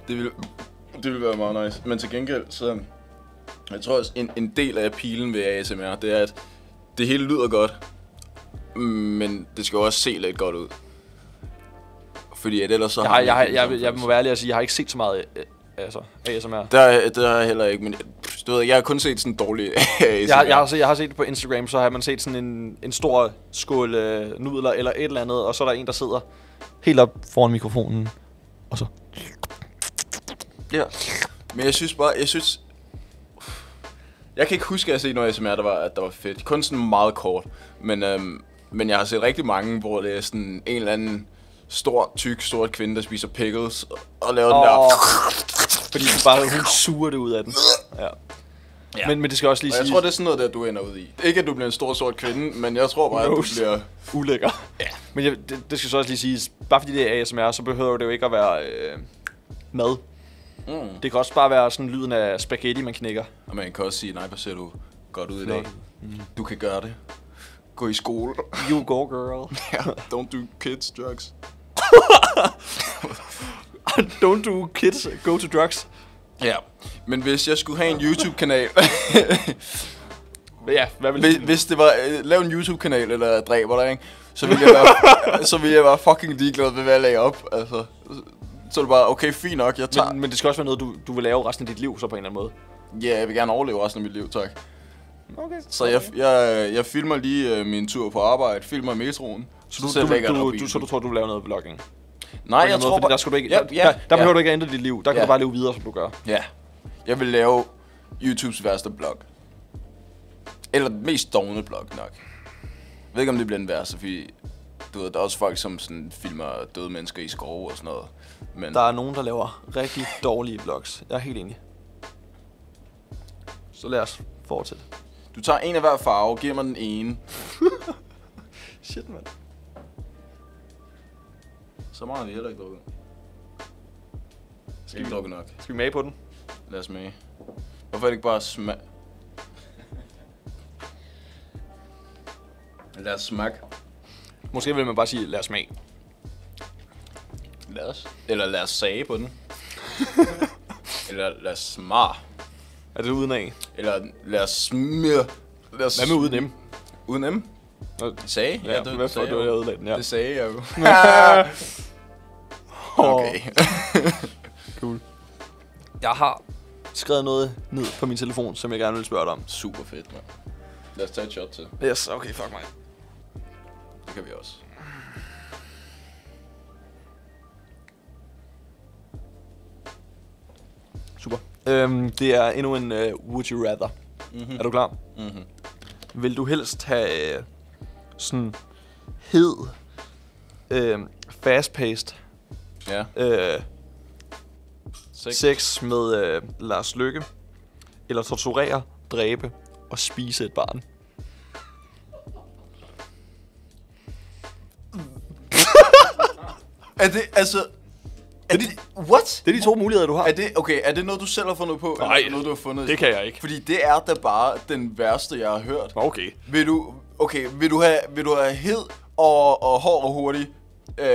S1: Det ville, det ville være meget nice. Men til gengæld, så... Jeg tror også, en, en del af pilen ved ASMR, det er, at det hele lyder godt, men det skal jo også se lidt godt ud. Fordi at ellers så
S2: Jeg,
S1: har
S2: har,
S1: man
S2: jeg,
S1: ikke
S2: jeg,
S1: den
S2: jeg,
S1: samme
S2: jeg, må
S1: følelse.
S2: være ærlig at sige, jeg har ikke set så meget øh, altså, ASMR.
S1: Der, der er jeg heller ikke, men du ved, jeg har kun set sådan dårlige ASMR.
S2: Jeg, har- jeg, har set, jeg har set det på Instagram, så har man set sådan en, en stor skål øh, nudler eller et eller andet, og så er der en, der sidder helt op foran mikrofonen, og så...
S1: Ja. Men jeg synes bare, jeg synes... Jeg kan ikke huske, at jeg har set noget ASMR, der var, der var fedt. Kun sådan meget kort. Men, øhm, men jeg har set rigtig mange, hvor det er sådan en eller anden stor, tyk, sort kvinde, der spiser pickles og- og laver oh. den
S2: Og,
S1: der...
S2: fordi det bare, hun suger det ud af den. Ja.
S1: Ja.
S2: Ja. Men, men det skal også lige
S1: Og jeg
S2: sige,
S1: tror, det er sådan noget, der du ender ud i. Ikke, at du bliver en stor, sort kvinde, men jeg tror bare, at du
S2: Nose.
S1: bliver...
S2: ulækker. Ja. Men jeg, det, det skal så også lige siges, bare fordi det er ASMR, så behøver det jo ikke at være øh, mad.
S1: Mm.
S2: Det kan også bare være sådan lyden af spaghetti, man knækker.
S1: Og man kan også sige, nej, hvor ser du godt ud i dag.
S2: Flot.
S1: Du kan gøre det. Gå i skole.
S2: You go, girl.
S1: Ja. Don't do kids drugs.
S2: Don't do kids, go to drugs.
S1: Ja. Men hvis jeg skulle have en YouTube-kanal...
S2: Ja, hvad vil
S1: Hvis, hvis det var, øh, lav en YouTube-kanal eller dræber dig, ikke? Så ville, jeg være, så ville jeg være fucking ligeglad med, hvad jeg lagde op, altså. Så er det bare, okay, fint nok, jeg tager...
S2: Men, men det skal også være noget, du, du vil lave resten af dit liv, så på en eller anden måde.
S1: Ja, jeg vil gerne overleve resten af mit liv, tak.
S2: Okay.
S1: Så jeg, jeg, jeg filmer lige øh, min tur på arbejde, filmer i metroen,
S2: Så du,
S1: så
S2: du,
S1: lægger jeg det
S2: du,
S1: op i
S2: du,
S1: den.
S2: så du tror, du vil lave noget vlogging? På
S1: Nej,
S2: en eller
S1: jeg
S2: anden
S1: tror
S2: fordi
S1: bare...
S2: der, skulle du ikke,
S1: ja,
S2: der,
S1: ja,
S2: der, der
S1: ja,
S2: behøver du ikke at ændre dit liv. Der kan
S1: Ja.
S2: du bare leve videre, som du gør.
S1: Ja. Jeg vil lave YouTubes værste blog. Eller den mest dogne blog nok. Jeg ved ikke, om det bliver den værste, fordi du ved, der er også folk, som sådan filmer døde mennesker i skove og sådan noget. Men
S2: Der er nogen, der laver rigtig dårlige vlogs. Jeg er helt enig. Så lad os fortsætte.
S1: du tager en af hver farve, giver mig den ene,
S2: Shit, mand.
S1: så meget har vi heller ikke drukket. Skal vi
S2: vi-
S1: drukke nok?
S2: Skal vi mage på den?
S1: Lad os med. Hvorfor er det ikke bare smag? Lad os smag.
S2: Måske vil man bare sige, lad os smage.
S1: Lad os. Eller lad os sage på den. Eller lad os smar.
S2: Er det uden af?
S1: Eller lad os smir. Lad os
S2: Hvad med uden M?
S1: Uden M?
S2: Nå,
S1: Sage?
S2: Ja, det, hvad for,
S1: sagde
S2: du
S1: jeg
S2: har
S1: jo.
S2: ødelagt den, ja.
S1: Det sagde jeg jo.
S2: Okay.
S1: okay.
S2: Cool. Jeg har skrevet noget ned på min telefon, som jeg gerne vil spørge dig om.
S1: Super fedt, mand. Lad os tage et shot til.
S2: Yes, okay, fuck mig.
S1: Det kan vi også.
S2: Super. Øhm, det er endnu en uh, Would You Rather. Mm-hmm. Er du klar?
S1: Mhm.
S2: Vil du helst have øh, sådan hed, øh, fast-paced
S1: Ja.
S2: øh,
S1: Sex.
S2: sex med øh, Lars Lykke, eller torturere, dræbe og spise et barn?
S1: Er det, altså... Er det, what?
S2: Det er de to muligheder, du har.
S1: Er det, okay, er det noget, du selv har fundet på?
S2: Nej,
S1: eller noget, du har fundet?
S2: det kan jeg ikke.
S1: Fordi det er da bare den værste, jeg har hørt.
S2: Okay.
S1: Vil du, okay, vil du have, vil du have hed og, og hård og hurtig, øh,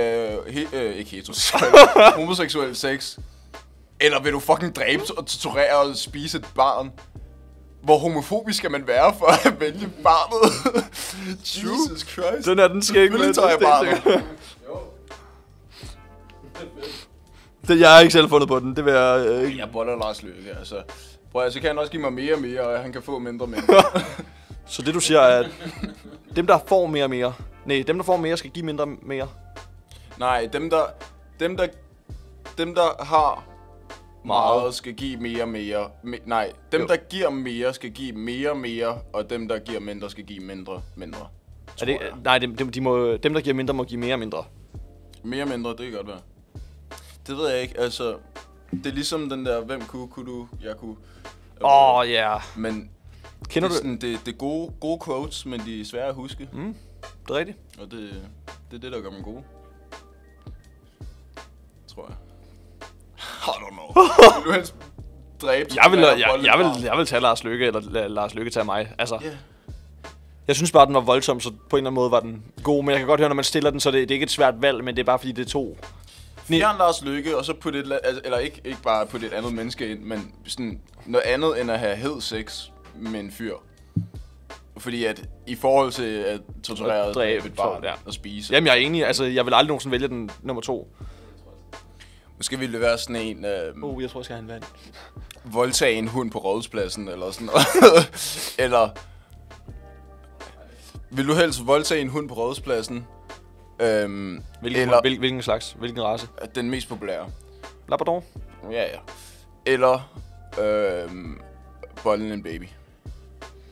S1: he, øh, ikke heteroseksuel, homoseksuel sex? Eller vil du fucking dræbe og torturere og spise et barn? Hvor homofobisk skal man være for at vælge barnet? Jesus Christ.
S2: Den er den skal ikke
S1: Selvfølgelig tager jeg barnet.
S2: Det, jeg har ikke selv fundet på den. Det vil jeg... Øh,
S1: Jeg boller Lars Løkke, altså. Prøv at, så kan han også give mig mere og mere, og han kan få mindre og mindre.
S2: Så det du siger er, at dem der får mere og mere... Nej, dem der får mere skal give mindre og mere.
S1: Nej, dem der, dem der, dem der har
S2: Meget.
S1: meget skal give mere og mere. Me, nej, dem
S2: Jo.
S1: der giver mere skal give mere og mere, og dem der giver mindre skal give mindre mindre.
S2: Er det, nej, dem, dem, de må, dem der giver mindre må give mere og mindre.
S1: Mere og mindre, det kan godt være. Det ved jeg ikke, altså. Det er ligesom den der, hvem kunne, kunne du, jeg kunne.
S2: Åh, oh, ja. Yeah.
S1: Men
S2: Kender
S1: det
S2: du
S1: er,
S2: det?
S1: sådan, det, det er gode, gode quotes, men de er svære at huske. Mm.
S2: Det er rigtigt.
S1: Og det, det er det, der gør dem gode. Tror jeg. I don't know. Vil du helst dræbe?
S2: Jeg vil,
S1: torturere og
S2: jeg, jeg,
S1: volde et barn?
S2: vil, jeg vil tage Lars Lykke, eller lade Lars Lykke tage mig. Altså,
S1: Ja.
S2: jeg synes bare, den var voldsom, så på en eller anden måde var den god. Men jeg kan godt høre, når man stiller den, så er det, det er ikke et svært valg, men det er bare fordi, det er to.
S1: Fjern Lars Lykke, og så putte et, la- altså, eller ikke, ikke bare putte et andet menneske ind, men sådan noget andet end at have hed sex med en fyr. Fordi at i forhold til at torturere
S2: Og
S1: og
S2: dræbe
S1: dræbe et barn
S2: folk, ja.
S1: og spise.
S2: Jamen, jeg er enig. Altså, jeg vil aldrig nogensinde vælge den nummer to.
S1: Måske ville det være sådan en, øh,
S2: Uh, jeg tror, jeg skal have en vand.
S1: voldtage en hund på rådspladsen, eller sådan noget. eller... Vil du helst voldtage en hund på rådspladsen? Øhm,
S2: Hvilken,
S1: eller
S2: hvil, hvilken slags? Hvilken race?
S1: den mest populære.
S2: Labrador?
S1: Ja, ja. Eller øhm, bolden en baby.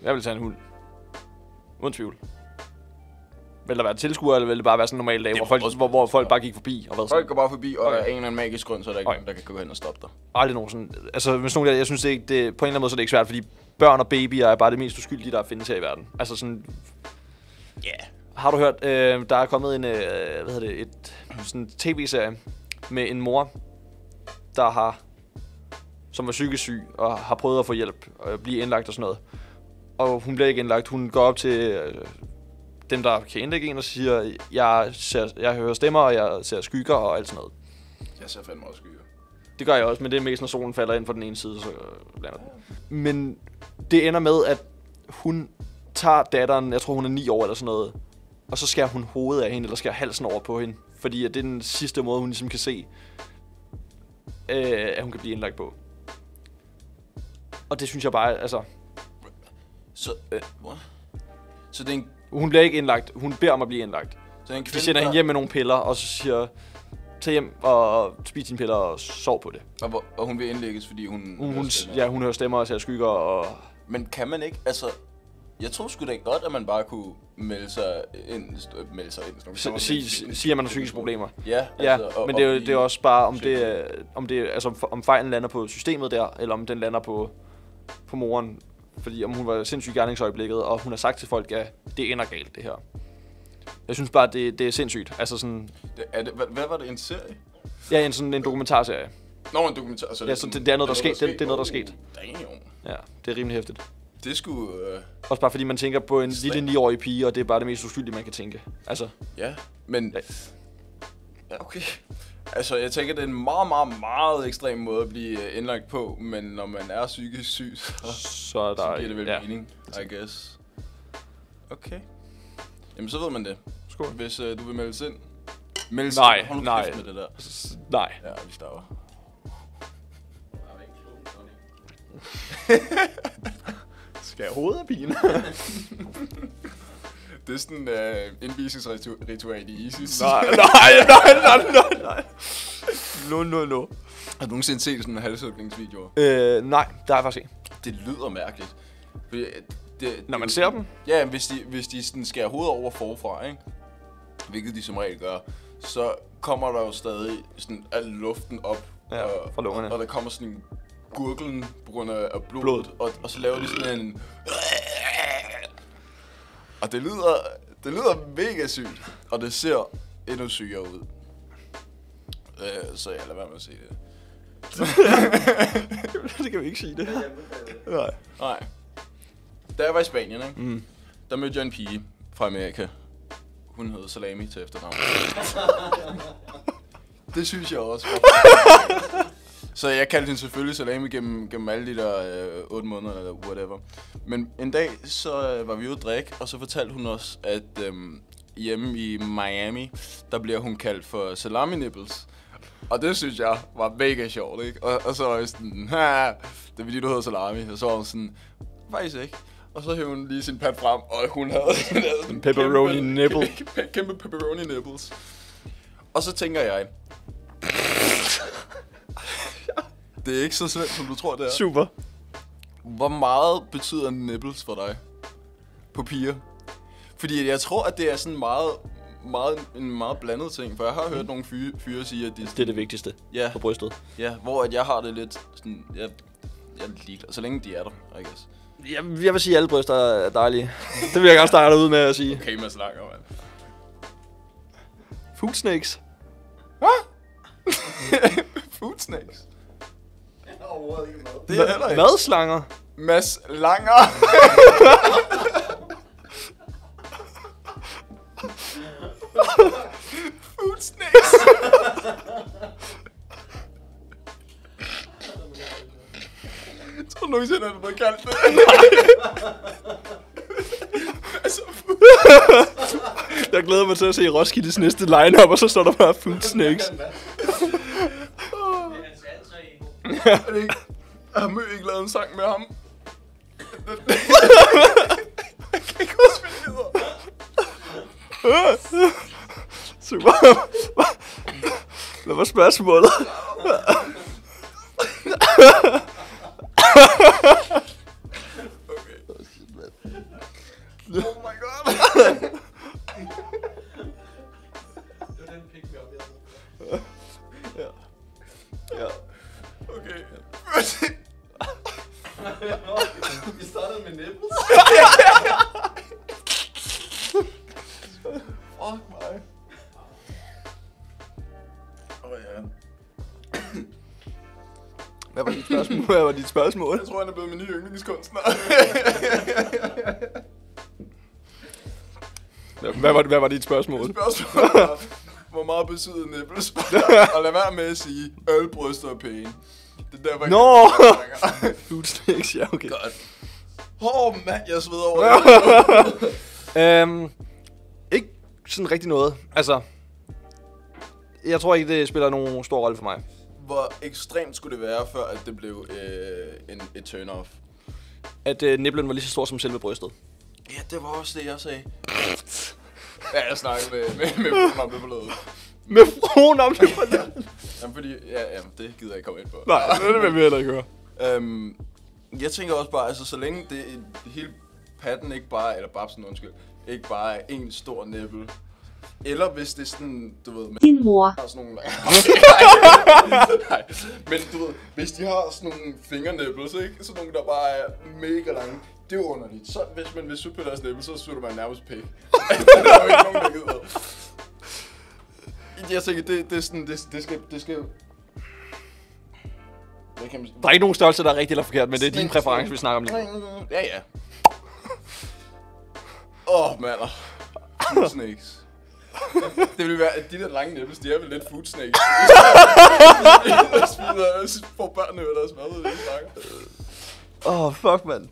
S2: Jeg vil tage en hund. Uden tvivl. Vil der være tilskuer, eller vil det bare være sådan en normal dag, hvor folk, hvor, hvor folk bare gik forbi og hvad
S1: Folk
S2: sådan?
S1: går bare forbi, og
S2: Okay.
S1: okay. er en eller anden magisk grund, så er der ikke
S2: Okay.
S1: nogen, der kan gå hen og stoppe dig.
S2: Aldrig nogen sådan... Altså, hvis nogen, jeg, jeg synes, det, er ikke, det, på en eller anden måde, så er det ikke svært, fordi børn og babyer er bare det mest uskyldige, der findes her i verden. Altså sådan...
S1: Ja. Yeah.
S2: Har du hørt, øh, der er kommet en, øh, hvad hedder det, et, sådan en tv-serie med en mor, der har, som var psykisk syg, og har prøvet at få hjælp, og blive indlagt og sådan noget. Og hun bliver ikke indlagt, hun går op til øh, dem, der kan indlægge en, og siger, jeg, ser, jeg hører stemmer, og jeg ser skygger og alt sådan noget.
S1: Jeg ser fandme også skyer.
S2: Det gør jeg også, men det er mest, når solen falder ind fra den ene side, så øh, lander den. Men det ender med, at hun tager datteren, jeg tror hun er 9 år eller sådan noget, og så skærer hun hovedet af hende, eller skærer halsen over på hende. Fordi at det er den sidste måde, hun ligesom kan se, øh, at hun kan blive indlagt på. Og det synes jeg bare, altså...
S1: Så, øh, what? Så det er en,
S2: Hun bliver ikke indlagt, hun beder om at blive indlagt.
S1: så det er en kvinde,
S2: De sender
S1: der-
S2: hende hjem med nogle piller, og så siger, tag hjem og spis dine piller og sov på det.
S1: Og, hvor- og hun vil indlægges, fordi hun...
S2: Hun, hun,
S1: stemmer.
S2: ja, hun hører stemmer og ser skygger og
S1: Men kan man ikke, altså... jeg troede sgu da godt, at man bare kunne melde sig ind. st- Melde sig ind. sådan nogle-
S2: S- Sige, s- sige, at man har psykiske problemer.
S1: Ja, altså,
S2: Ja,
S1: og-
S2: men det er, jo,
S1: og
S2: det er også bare, om, det, er- om, det, er- altså, om- om fejlen lander på systemet der, eller om den lander på, på moren. Fordi om hun var sindssyg i gerningsøjeblikket, og hun har sagt til folk, at det ender galt, det her. Jeg synes bare, det, det er sindssygt. Altså sådan,
S1: Det, er det, hvad, hvad var det, en serie?
S2: ja, en, sådan en dokumentarserie.
S1: Nå, en dokumentar. Altså,
S2: Ja, så det- det er noget, der er sket. Det- det er noget, der er
S1: er sket. Damn.
S2: Ja, det er rimelig hæftigt.
S1: Det skulle... Øh,
S2: Også bare fordi man tænker på en
S1: Ekstremt.
S2: lille 9-årig pige, og det er bare det mest uskyldige, man kan tænke. Altså,
S1: ja, men...
S2: Ja.
S1: Ja, okay. Altså, jeg tænker, det er en meget, meget, meget ekstrem måde at blive øh, indlagt på, men når man er psykisk syg, så,
S2: så er
S1: så
S2: der...
S1: giver det vel
S2: ja.
S1: ja. mening, I guess. Okay. Jamen, så ved man det.
S2: Skål.
S1: Hvis øh, du vil meldes ind. Meldes
S2: Nej,
S1: ind. Hold nu
S2: nej.
S1: kæft med det der.
S2: S- Nej.
S1: Ja, vi starter.
S3: Der er ikke klog, Johnny.
S1: Skal jeg hovedet af pigen? det er sådan øh, indvisningsritual i ISIS.
S2: Nej, nej, nej, nej, nej, nej. No, no, no.
S1: Har du nogensinde set sådan en halshugningsvideoer?
S2: Øh, nej, der er faktisk en.
S1: Det lyder mærkeligt. Fordi, øh, det,
S2: Når
S1: det-
S2: man ser dem?
S1: Ja, hvis de, hvis de sådan skærer hovedet over forfra, ikke? hvilket de som regel gør, så kommer der jo stadig sådan al luften op.
S2: Ja, fra lungerne.
S1: Og der kommer sådan en gurglen på grund af af blodet. Blod.
S2: Blod.
S1: Og, og så laver de sådan en... Og det lyder, det lyder mega sygt. Og det ser endnu sygere ud. Øh, så jeg lader være med at sige det.
S2: det kan vi ikke sige det. Nej.
S1: Nej. Da jeg var i Spanien, ikke? Mm. der mødte jeg en pige fra Amerika. Hun hed Salami til efternavn. det synes jeg også. var- Så jeg kaldte hende selvfølgelig Salami gennem, gennem alle de der øh, 8 måneder eller whatever. Men en dag, så øh, var vi ude at drikke, og så fortalte hun os, at øh, hjemme i Miami, der bliver hun kaldt for Salami Nipples. Og det synes jeg var mega sjovt, ikke? Og, og så var jeg sådan, ha, det er fordi, du hedder salami. Og så var hun sådan, faktisk ikke. Og så hævde hun lige sin pat frem, og hun havde sådan en
S2: Pepperoni
S1: kæmpe,
S2: nipple.
S1: Kæmpe, kæmpe pepperoni nipples. Og så tænker jeg, det er ikke så svært, som du tror, det er.
S2: Super.
S1: Hvor meget betyder nipples for dig på piger? Fordi jeg tror, at det er sådan meget, meget, en meget blandet ting, for jeg har hørt nogle fyre, fyre sige, at de
S2: Det er det vigtigste
S1: Ja.
S2: på brystet.
S1: Ja, hvor at jeg har det lidt sådan, jeg, jeg er lidt ligeglad, så længe de er der, I guess.
S2: Jeg, jeg vil sige, at alle bryster er dejlige. Det vil jeg gerne starte ud med at sige.
S1: Okay, man snakker, mand.
S2: Food snakes.
S1: Food snacks.
S3: Jeg er overhovedet ikke med.
S1: Det er heller ikke.
S2: Madslanger.
S1: Mads Langer. Food snacks. Jeg tror nogensinde, at du har kaldt det. altså, food
S2: Jeg glæder mig til at se Roskildes næste lineup, og så står der bare food snakes.
S4: Men han skal altså i
S1: Er det ikke... Har Mø ikke lavet en sang med ham? Jeg kan ikke huske, hvad det hedder.
S2: Super. Hvad var spørgsmålet?
S1: Oh my god.
S4: Det var den pik, vi oplevede.
S2: Ja. Ja.
S1: Okay.
S3: Vi startede med nipples.
S1: Fuck mig. Åh oh, ja.
S2: Hvad var dit spørgsmål? Hvad var dit spørgsmål?
S1: Jeg tror, han er blevet min nye yndlingskunstner.
S2: Hvad var, hvad var dit spørgsmål?
S1: Spørgsmålet er, hvor meget betyder nipples? og lad være med at sige, ølbryster og pæne. Det er derfor, jeg
S2: Nå!
S1: no.
S2: Food snakes, ja, okay.
S1: Godt. Åh, oh, mand, jeg sveder over det.
S2: Øhm, ikke sådan rigtig noget. Altså, jeg tror ikke, det spiller nogen stor rolle for mig.
S1: Hvor ekstremt skulle det være, før at det blev øh, en, et turn-off?
S2: At øh, niblen var lige så stor som selve brystet.
S1: Ja, det var også det, jeg sagde. ja, jeg snakkede med, med, med mig med forløbet.
S2: Med froen om det for det.
S1: Jamen, fordi, ja, jamen, det gider jeg ikke komme ind på.
S2: Nej, det vil vi heller ikke høre.
S1: Øhm, jeg tænker også bare, altså, så længe det hele patten ikke bare, eller babsen undskyld, ikke bare er en stor nipple. Eller hvis det er sådan, du ved, med
S6: Din mor.
S1: har sådan nogle... Nej, nej. Men du ved, hvis de har sådan nogle fingernipples, ikke? Sådan nogle, der bare er mega lange. Det er jo underligt. Så hvis man vil sutte på deres nipple, så sutter man nærmest pik. det er jo ikke nogen, der gider. Jeg tænker, det, det er sådan, det, det skal... Det skal Hvad kan man...
S2: Der er ikke nogen størrelse, der er rigtig eller forkert, men det er din præference, vi snakker om lige.
S1: Ja, ja. Åh, oh, mander. Food snakes. Det vil være, at de der lange nipples, de er vel lidt food snakes. Jeg smider, får børnene med deres mad ud i en pakke.
S2: Åh, oh, fuck, mand.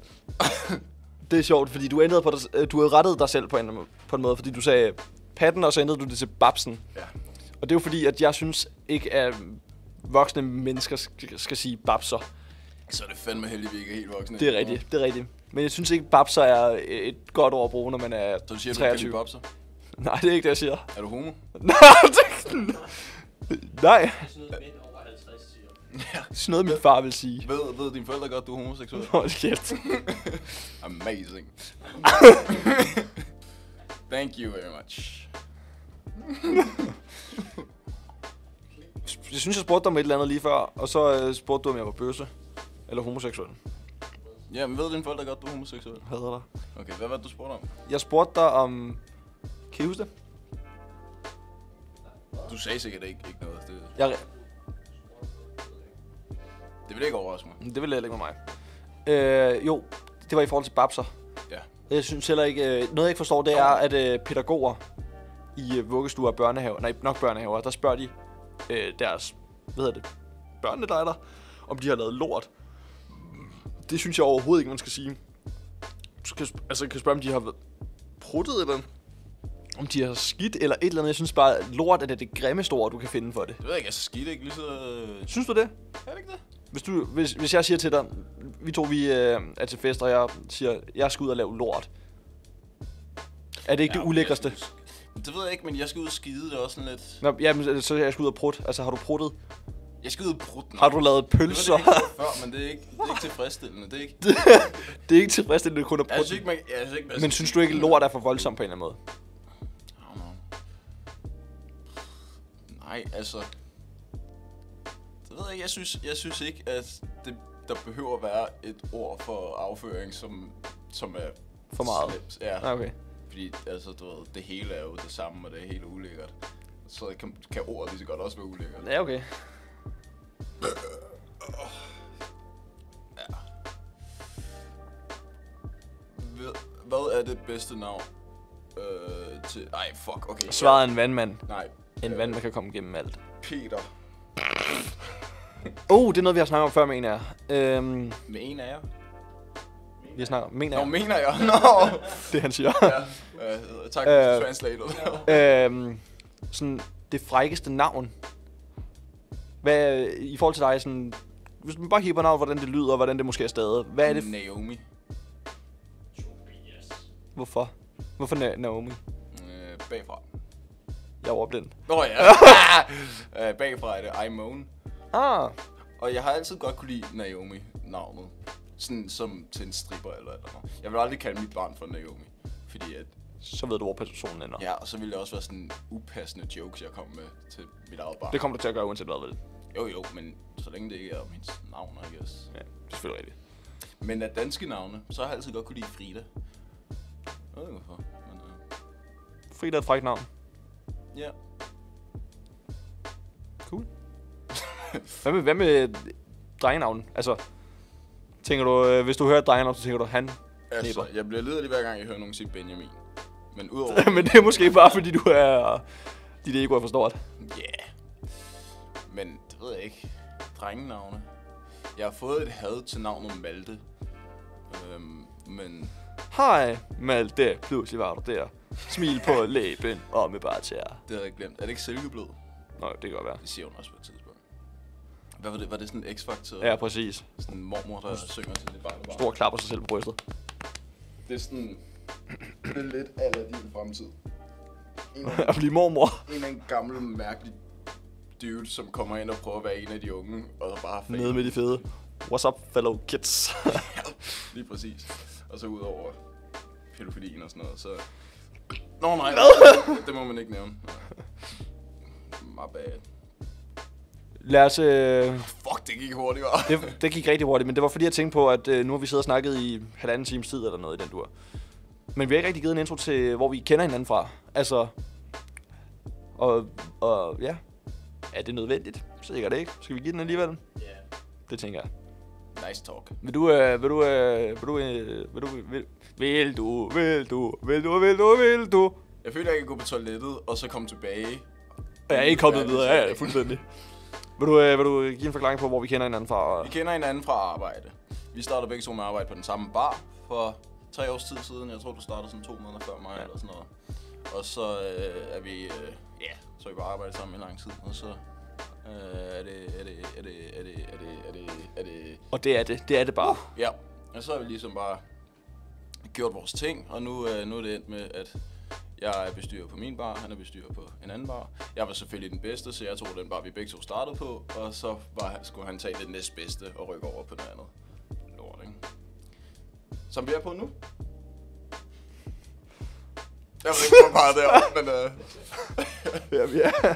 S2: det er sjovt, fordi du ændrede på dig, øh, du havde rettet dig selv på en, på en måde, fordi du sagde patten, og så ændrede du det til babsen.
S1: Ja.
S2: Og det er jo fordi, at jeg synes ikke, at voksne mennesker skal, skal sige babser.
S1: Så er det fandme heldigt, vi ikke er helt voksne.
S2: Det er rigtigt, det er rigtigt. Men jeg synes ikke, babser er et godt ord at bruge, når man er
S1: Så du siger, du kan
S2: 23.
S1: lide bobser?
S2: Nej, det er ikke det, jeg siger.
S1: Er du homo?
S2: Nej, det- Nej,
S4: Det er sådan noget mænd over 50 siger.
S2: sådan noget min far vil sige.
S1: Ved, ved dine forældre godt, du er homoseksuel?
S2: Hold kæft.
S1: Amazing. Thank you very much.
S2: Jeg synes, jeg spurgte dig om et eller andet lige før, og så øh, spurgte du, om jeg var bøsse. Eller homoseksuel.
S1: Ja, men ved dine forældre godt, du er homoseksuel?
S2: Hader dig.
S1: Okay, hvad var det, du spurgte om?
S2: Jeg spurgte dig om... Kan I huske det?
S1: Du sagde sikkert ikke, ikke noget. Det,
S2: Jeg...
S1: det ville ikke overraske mig.
S2: Det ville heller ikke med mig. Øh, jo, det var i forhold til babser.
S1: Ja.
S2: Jeg synes heller ikke... Øh, noget, jeg ikke forstår, det er, at øh, pædagoger i øh, vuggestuer og børnehaver... Nej, nok børnehaver, der spørger de øh, deres... Hvad hedder det? Børnene, der er der, om de har lavet lort. Det synes jeg overhovedet ikke, man skal sige. Du skal, sp- altså, kan spørge, om de har været pruttet eller om de har skidt eller et eller andet. Jeg synes bare, lort er det, det grimmeste ord, du kan finde for det.
S1: Det ved jeg ikke, altså skidt ikke lige så... øh,
S2: Synes du det?
S1: Er det ikke det?
S2: Hvis, du, hvis, hvis jeg siger til dig, vi to vi, øh, er til fest, og jeg siger, jeg skal ud og lave lort. Er det ikke ja, det ulækreste?
S1: Det ved jeg ikke, men jeg skal ud og skide, det er også sådan lidt...
S2: Nå, jamen, så jeg skal ud og prut. Altså, har du pruttet?
S1: Jeg skal ud og brudt
S2: Har du lavet
S1: det
S2: pølser?
S1: var det ikke før, men det er ikke, det er ikke tilfredsstillende. Det er ikke...
S2: det er ikke tilfredsstillende kun at
S1: Jeg synes
S2: prutte.
S1: ikke, man... Jeg synes ikke, man
S2: Men synes du ikke, lort er for voldsomt på en eller anden måde?
S1: I don't know. Nej, altså... Det ved jeg ikke. Jeg synes, jeg synes ikke, at det, der behøver at være et ord for afføring, som, som er...
S2: For meget.
S1: slemt. Ja.
S2: Ah, Okay.
S1: Fordi altså, du ved, det hele er jo det samme, og det er helt ulækkert. Så kan, kan ordet lige så godt også være ulækkert.
S2: Ja, okay.
S1: Hvad- Hvad er det bedste navn øh, til... Ej, fuck, okay.
S2: Svaret er en vandmand.
S1: Nej.
S2: En
S1: øh,
S2: vandmand kan komme igennem alt.
S1: Peter.
S2: Oh, det er noget, vi har snakket om før, mener jeg. Øhm,
S1: Med en af jer?
S2: vi har snakket om, mener
S1: Nå,
S2: jeg.
S1: mener jeg? Nå!
S2: Det han siger.
S1: ja. Øh, tak
S2: Øh.
S1: for translatet.
S2: øhm, sådan det frækkeste navn. Hvad, i forhold til dig, sådan, hvis man bare hipper navn, hvordan det lyder, og hvordan det måske er stadig. Hvad er det? f-
S1: Naomi.
S4: Tobias.
S2: Hvorfor? Hvorfor Na- Naomi?
S1: Øh, bagfra.
S2: Jeg er ordblind.
S1: Nå ja. øh, bagfra er det I'm Moan.
S2: Ah,
S1: Og jeg har altid godt kunne lide Naomi navnet. Sådan som til en stripper eller eller noget. Jeg vil aldrig kalde mit barn for Naomi. Fordi at,
S2: så ved du, hvor personen ender.
S1: ja, og så ville det også være sådan upassende jokes, jeg kom med til mit eget barn.
S2: Det kommer du til at gøre, uanset hvad, vel?
S1: Jo jo, men så længe det ikke er mit navn, I guess.
S2: Ja, det er selvfølgelig rigtigt.
S1: Men af danske navne, så har jeg altid godt kunne lide Frida. Jeg ved ikke hvorfor, men øh,
S2: Frida er et frækt navn.
S1: ja.
S2: Cool. hvad med, hvad med drengenavn? Altså, tænker du, øh, hvis du hører et drengenavn, så tænker du, han
S1: Altså,
S2: Knipper.
S1: jeg bliver lederlig hver gang, jeg hører nogen sige Benjamin. Men udover...
S2: Men det er måske bare, fordi du er... Dit ego er for stort.
S1: Ja. Yeah. Men det ved jeg ikke. Drengenavne. Jeg har fået et had til navnet Malte. Øhm, men
S2: Hej, Malte, pludselig var du der. Smil på læben og med bare tæer.
S1: det har jeg glemt. Er det ikke Silkeblød?
S2: Nå, det kan godt være.
S1: Det siger hun også på et tidspunkt. Hvad var det? Var det sådan en X-Factor?
S2: Ja, præcis.
S1: Sådan en mormor, der synger til det barnebarn.
S2: Stor klapper sig selv på brystet.
S1: Det er sådan... Det er lidt af din fremtid. En af
S2: At blive mormor.
S1: en eller anden gammel, mærkelig dude, som kommer ind og prøver at være en af de unge, og bare fader.
S2: Nede med de fede. What's up, fellow kids?
S1: Lige præcis. Og så udover pædofilien og sådan noget, så... Nå nej, det må man ikke nævne. Nej. My bad.
S2: Lad os... Øh,
S1: Fuck, det gik hurtigt, var.
S2: det, det gik rigtig hurtigt, men det var fordi, jeg tænkte på, at øh, nu har vi siddet og snakket i halvanden times tid eller noget i den dur. Men vi har ikke rigtig givet en intro til, hvor vi kender hinanden fra. Altså... Og, og ja... Er det nødvendigt? Sikkert ikke. Skal vi give den alligevel?
S4: Ja.
S2: Det tænker jeg.
S1: Nice talk.
S2: Vil du, øh, vil du, øh, vil du, øh, vil du, vil, vil du, vil du, vil du, vil du, vil du?
S1: Jeg føler, jeg kan gå på toilettet, og så komme tilbage.
S2: Jeg er ikke kommet videre, ja, ja, fuldstændig. Vil du, øh, vil du give en forklaring på, hvor vi kender hinanden fra? Og...
S1: Vi kender hinanden fra arbejde. Vi startede begge to med at arbejde på den samme bar for tre års tid siden. Jeg tror, du startede sådan to måneder før mig ja. eller sådan noget. Og så øh, er vi, øh, ja, så har vi bare arbejdet sammen i lang tid. Og så øh, er det, er det, er det, er det, er det, er det, er det,
S2: Og det er det, det er det bare.
S1: ja. Og så har vi ligesom bare gjort vores ting, og nu, øh, nu er det endt med, at jeg er bestyrer på min bar, han er bestyrer på en anden bar. Jeg var selvfølgelig den bedste, så jeg tog den bar, vi begge to startede på, og så var, skulle han tage den næstbedste og rykke over på noget andet. Lort, ikke? Som vi er på nu. Jeg ved ikke, hvor meget det er, men øh,
S2: Uh, Ja, vi er.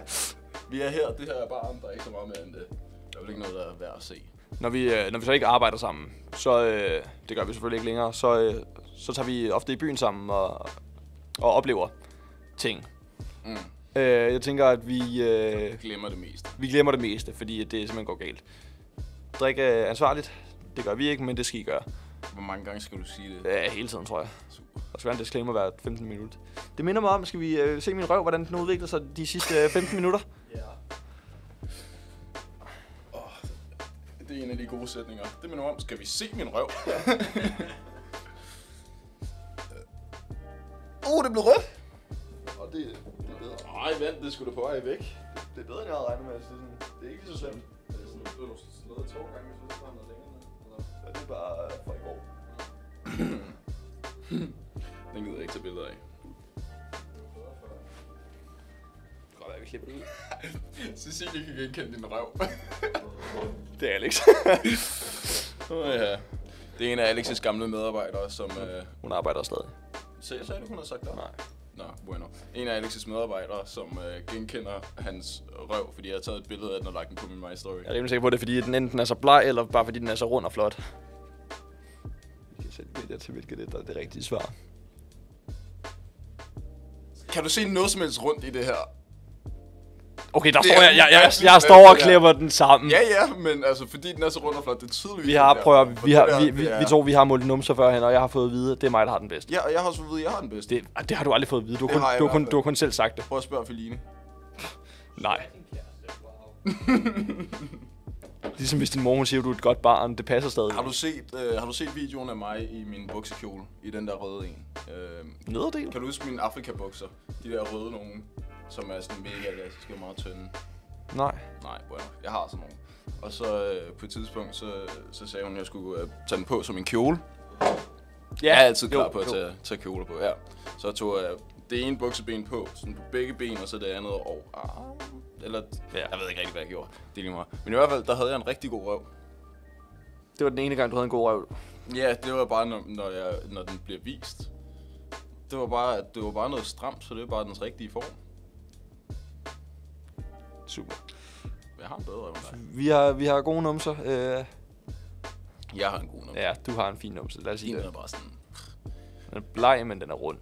S1: vi er her. Det her er bare, der er ikke så meget mere end det. Der er vel ikke noget, der er værd at se.
S2: Når vi, øh, når vi så ikke arbejder sammen, så, øh, det gør vi selvfølgelig ikke længere, så, øh, så tager vi ofte i byen sammen og, og oplever ting.
S1: Mm.
S2: Øh, jeg tænker, at vi, øh,
S1: Glemmer det mest.
S2: vi glemmer det meste, fordi at det simpelthen går galt. Drik er ansvarligt. Det gør vi ikke, men det skal I gøre.
S1: Hvor mange gange skal du sige det?
S2: Ja, hele tiden, tror jeg.
S1: Super.
S2: Der skal være en disclaimer hver 15 minutter. Det minder mig om, skal vi øh, se min røv, hvordan den udvikler sig de sidste øh, 15 minutter?
S4: Ja.
S1: Det er en af de gode sætninger. Det minder mig om, skal vi se min røv?
S2: Uh, det blev rødt!
S3: Og det, det er bedre.
S1: Nej, vent, det skulle da på vej væk.
S3: Det er bedre, end jeg havde regnet med. Altså, det, er sådan, det er ikke så slemt.
S4: Er det sådan, du har slået to gange, hvis du har noget længere ned? Eller?
S3: Ja, det er bare øh, fra i går.
S1: Den gider jeg ikke tage billeder af.
S2: Godt, at vi klipper det ud.
S1: Cecilie kan ikke kende din røv.
S2: Det er Alex.
S1: oh, ja. Det er en af Alexes gamle medarbejdere, som... Øh...
S2: Hun arbejder stadig.
S1: Så jeg sagde det, hun har sagt der?
S2: Nej.
S1: Nå, bueno. En af Alexes medarbejdere, som øh, genkender hans røv, fordi jeg har taget et billede af den og lagt den på min My Story.
S2: Jeg er rimelig sikker på det, er, fordi den enten er så bleg, eller bare fordi den er så rund og flot. Vi kan selv vælge til, hvilket det er det rigtige svar.
S1: Kan du se noget som helst rundt i det her?
S2: Okay, der
S1: Det
S2: står
S1: er
S2: jeg, jeg, jeg,
S1: ufattelig
S2: jeg står og
S1: svært, det
S2: klipper den sammen.
S1: Ja, ja, men altså, fordi den er så rund og flot, det er tydeligvis...
S2: Vi har,
S1: den der.
S2: prøv at,
S1: Og
S2: vi,
S1: det
S2: har,
S1: der,
S2: vi, vi,
S1: det er-
S2: vi, to, vi har målt numser førhen, og jeg har fået at vide, at det er mig, der har den bedste.
S1: Ja, og jeg har også fået at vide, at jeg har den bedste.
S2: Det, ah, det har du aldrig fået at vide. Du har
S1: Det
S2: kun,
S1: har jeg
S2: du
S1: i
S2: har kun,
S1: hvert fald.
S2: du har kun selv sagt det.
S1: Prøv at spørge Feline.
S2: Nej.
S4: Din kæreste, wow.
S2: Ligesom hvis din mor hun siger, at du er et godt barn, det passer stadig.
S1: Har du set, øh, har du set videoen af mig i min buksekjole? I den der røde en? Øh,
S2: nederdel?
S1: kan du huske mine Afrika-bukser? De der røde nogen, som er sådan mega klassiske og meget tynde.
S2: Nej.
S1: Nej, bueno, jeg har sådan nogle. Og så øh, på et tidspunkt, så, så sagde hun, at jeg skulle øh, tage den på som en kjole. Ja, jeg er altid klar jo, på at tage, tage kjoler på. Ja. Så jeg tog jeg det ene bukseben på, sådan på begge ben, og så det andet over. Ah, eller, ja. jeg ved ikke rigtig, hvad jeg gjorde. Det er lige meget. Men i hvert fald, der havde jeg en rigtig god røv.
S2: Det var den ene gang, du havde en god røv.
S1: Ja, det var bare, når, når, jeg, når den bliver vist. Det var, bare, det var bare noget stramt, så det var bare dens rigtige form.
S2: Super.
S1: Jeg har en bedre røv end dig.
S2: Vi har, vi har gode numser. Øh,
S1: Jeg har en god nummer. Ja,
S2: ja, du har en fin numse, lad os sige
S1: Din er
S2: det.
S1: bare sådan...
S2: Den er bleg, men den er rund.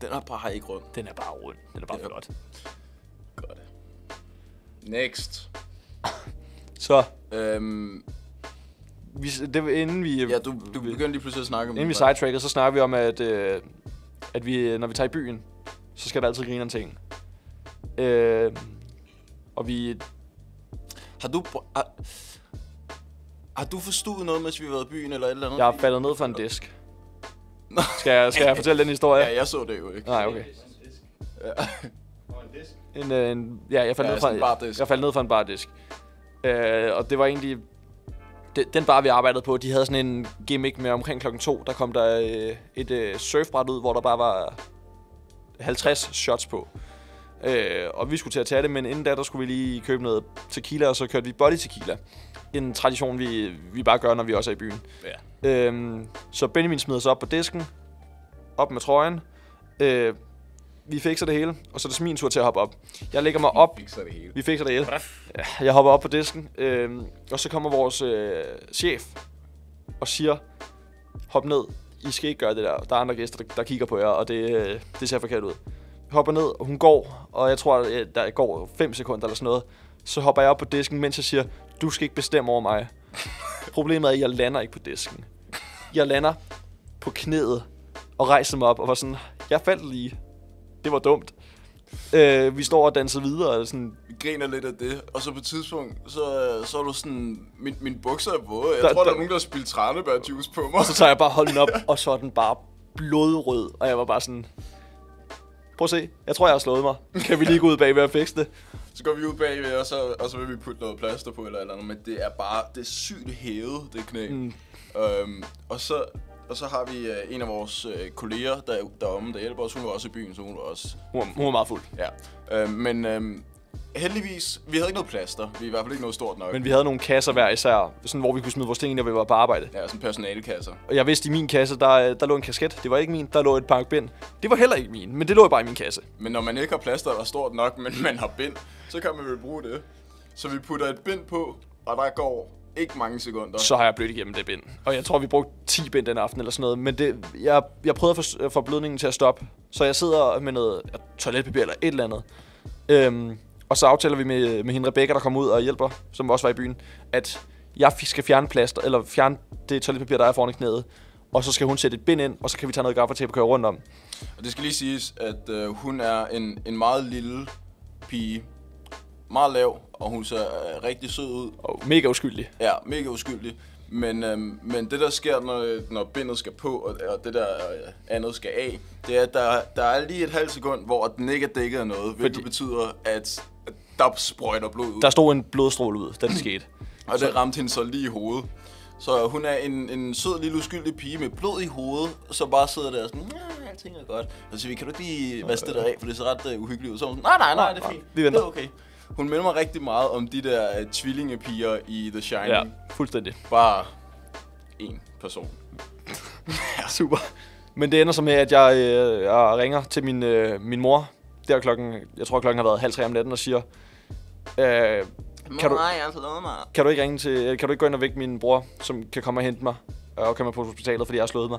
S1: Den er bare ikke rund.
S2: Den er bare rund. Den er bare
S1: Ja.
S2: flot.
S1: Godt. Next.
S2: Så,
S1: Øhm,
S2: vi, s- det, var- inden vi...
S1: ja, du, du begyndte lige pludselig at snakke om...
S2: Inden vi sidetrackede, så snakker vi om, at, øh, at vi, øh, når vi tager i byen, så skal der altid grine om ting. Øh, og vi...
S1: Har du... pr- Har, har du forstået noget, mens vi har været i byen, eller et eller andet?
S2: Jeg er faldet ned fra en disk.
S1: Nå.
S2: Skal jeg, skal jeg fortælle den historie?
S1: Ja, jeg så det jo ikke.
S2: Nej, okay.
S4: Det er sådan en disk.
S1: Ja.
S4: Og en disk.
S2: En, øh, en, ja, jeg faldt,
S1: Ja,
S2: ned
S1: sådan en
S2: fra, jeg,
S1: bardisk.
S2: jeg faldt ned fra en bardisk. Øh, og det var egentlig... De, den bar, vi arbejdede på, de havde sådan en gimmick med omkring klokken to. Der kom der øh, et øh, surfbræt ud, hvor der bare var 50 shots på. Øh, og vi skulle til at tage det, men inden da, der skulle vi lige købe noget tequila, og så kørte vi body tequila. En tradition, vi, vi bare gør, når vi også er i byen.
S1: ja.
S2: Øhm, så Benjamin smider sig op på disken, op med trøjen. Øh, vi fikser det hele, og så er det min tur til at hoppe op. Jeg lægger mig op,
S1: Fikser det hele.
S2: vi fikser det hele. Ja, Jeg hopper op på disken, øh, og så kommer vores øh, chef og siger, hop ned, I skal ikke gøre det der. Der er andre gæster, der, der kigger på jer, og det, øh, det ser forkert ud. Jeg hopper ned, og hun går, og jeg tror, at øh, der går 5 sekunder eller sådan noget. Så hopper jeg op på disken, mens jeg siger, du skal ikke bestemme over mig. Problemet er, at jeg lander ikke på disken. Jeg lander på knæet og rejser mig op og var sådan, jeg faldt lige. Det var dumt. Øh, vi står og danser videre, og sådan,
S1: Vi griner lidt af det, og så på et tidspunkt, så, så er du sådan, min, mine bukser er våde. Jeg
S2: Der-
S1: der, tror, der,
S2: der-
S1: er nogen, der har spildt tranebærjuice på mig.
S2: Og så tager jeg bare hånden op, og så er den bare blodrød. Og jeg var bare sådan... Prøv at se, jeg tror, jeg har slået mig. Kan vi lige gå ud bagved og fikse det?
S1: Så går vi ud bagved, og så, og så vil vi putte noget plaster på eller et eller andet, men det er bare, det er sygt hævet, det knæ. Mm. Øhm, og, så, og så har vi øh, en af vores øh, kolleger der, deromme, der hjælper os. Hun var også i byen, så hun var også...
S2: Hun var, hun var meget fuld.
S1: Ja. Øhm, men øhm, heldigvis, vi havde ikke noget plaster. Vi er i hvert fald ikke noget stort nok.
S2: Men vi havde nogle kasser hver især, sådan, hvor vi kunne smide vores ting ind, når vi var på arbejde.
S1: Ja, sådan personalekasser.
S2: Og jeg vidste, i min kasse, der, øh, der lå en kasket. Det var ikke min. Der lå et parkbind. Det var heller ikke min, men det lå bare i min kasse.
S1: Men når man ikke har plaster, der er stort nok, men man har bind, så kan man vel bruge det. Så vi putter et bind på, og der går ikke mange sekunder.
S2: Så har jeg blødt igennem det bind. Og jeg tror, vi brugte 10 bind den aften eller sådan noget. Men det, jeg, jeg prøvede at få- øh, få blødningen til at stoppe. Så jeg sidder med noget øh, toiletpapir eller et eller andet. Øhm, og så aftaler vi med, med hende Rebecca, der kommer ud og hjælper, som også var i byen, at jeg f- skal fjerne plaster, eller fjerne det toiletpapir, der er foran i knæet. Og så skal hun sætte et bind ind, og så kan vi tage noget gaffatape og køre rundt om.
S1: Og det skal lige siges, at øh, hun er en, en meget lille pige. Meget lav, og hun ser øh, rigtig sød ud.
S2: Og mega uskyldig.
S1: Ja, mega uskyldig. Men, øh, men det, der sker, når, øh, når bindet skal på, og, og det der øh, andet skal af, det er, at der, der er lige et halvt sekund, hvor den ikke er dækket af noget. Hvilket
S2: Fordi-
S1: betyder, at at der sprøjter blod ud.
S2: Der stod en blodstråle ud, da det skete.
S1: Og det ramte hende så lige i hovedet. Så hun er en, en sød lille uskyldig pige med blod i hovedet, så bare sidder der og sådan, "Nah, alting er godt. Og så siger vi, kan du ikke lige vaske det der af, for det ser ret uh, uhyggeligt ud. Så er hun sådan, nej, nej, nej, det er fint.
S2: Vi venter."
S1: Det er okay. Hun minder mig rigtig meget om de der uh, tvillingepiger i The Shining.
S2: Ja,
S1: Ja.
S2: fuldstændig.
S1: Bare en person.
S2: Super. Men det ender så med, at jeg, øh, jeg ringer til min, øh, min mor. Der klokken, jeg tror klokken har været halv tre om natten og siger, øh, kan, du,
S1: jeg har slået mig.
S2: kan, du ikke ringe til, øh, kan du ikke gå ind og vække min bror, som kan komme og hente mig, øh, og kan mig på hospitalet, fordi jeg har slået mig.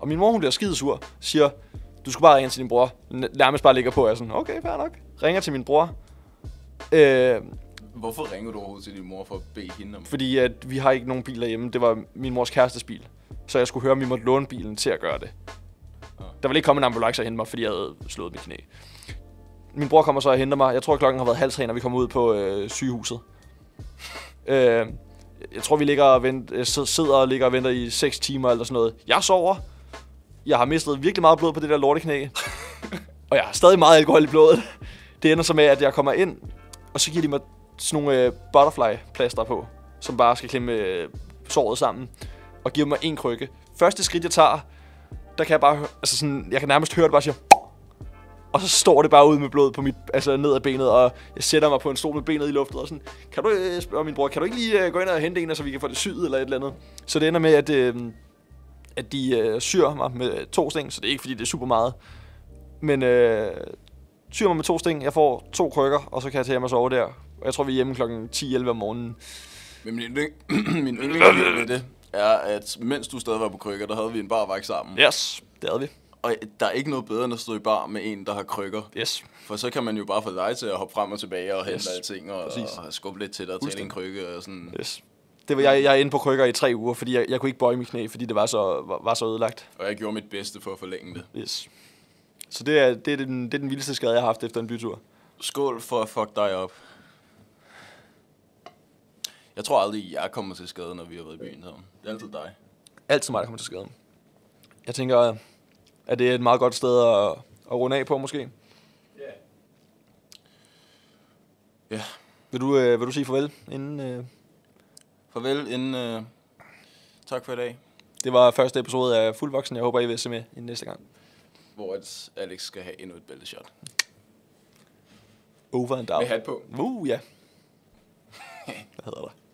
S2: Og min mor, hun bliver skidesur, siger, du skulle bare ringe til din bror. N- nærmest bare ligger på, og jeg er sådan, okay, fair nok. Ringer til min bror, øh,
S1: Hvorfor ringer du overhovedet til din mor for at bede hende om det?
S2: fordi at vi har ikke nogen biler hjemme. Det var min mors kærestes bil. Så jeg skulle høre, om vi måtte låne bilen til at gøre det. Der ville ikke komme en ambulance og hente mig, fordi jeg havde slået mit knæ. Min bror kommer så og henter mig. Jeg tror, klokken har været halv tre, når vi kommer ud på øh, sygehuset. Øh, jeg tror, vi ligger og vent, øh, sid- sidder og ligger og venter i 6 timer eller sådan noget. Jeg sover. Jeg har mistet virkelig meget blod på det der lorteknæ. og jeg har stadig meget alkohol i blodet. Det ender så med, at jeg kommer ind, og så giver de mig sådan nogle øh, butterfly-plaster på, som bare skal klemme øh, såret sammen, og giver mig en krykke. Første skridt, jeg tager, der kan jeg bare, hø- altså sådan, jeg kan nærmest høre det bare siger, og så står det bare ud med blod på mit, altså ned ad benet, og jeg sætter mig på en stol med benet i luftet, og sådan, kan du, øh, spørger min bror, kan du ikke lige øh, gå ind og hente en, så vi kan få det syet, eller et eller andet. Så det ender med, at, øh, at de øh, syr mig med to sting, så det er ikke, fordi det er super meget, men øh, syr mig med to sting, jeg får to krykker, og så kan jeg tage hjem og sove der. Og jeg tror, vi er hjemme kl. 10-11 om morgenen.
S1: Men min, yndling- min yndlingsdel ved det er, at mens du stadig var på krykker, der havde vi en barvagt sammen.
S2: Yes, det havde vi.
S1: Og der er ikke noget bedre, end at stå i bar med en, der har krykker.
S2: Yes.
S1: For så kan man jo bare få dig til at hoppe frem og tilbage og hente
S2: Yes,
S1: yes. ting og,
S2: præcis.
S1: og skubbe lidt til dig til en krykke og sådan.
S2: yes. Det var, jeg, jeg er inde på krykker i tre uger, fordi jeg, jeg kunne ikke bøje mit knæ, fordi det var så, var, var så ødelagt.
S1: Og jeg gjorde mit bedste for at forlænge det.
S2: Yes. Så det er, det, er den, det er den vildeste skade, jeg har haft efter en bytur.
S1: Skål for at fuck dig op. Jeg tror aldrig, jeg kommer til skade, når vi har været i byen sammen. Det er altid dig.
S2: Altid mig, der kommer til skade. Jeg tænker, at det er et meget godt sted at, at runde af på, måske.
S4: Ja.
S1: Ja.
S2: Vil du, øh, vil du sige farvel? Inden, øh,
S1: Farvel inden... Øh, tak for i dag.
S2: det var første episode af Fuldvoksen. Jeg håber, I vil se med i næste gang.
S1: Hvor at Alex skal have endnu et bælteshot.
S2: Over and out.
S1: Med hat på.
S2: Uh, ja. Hvad hedder det?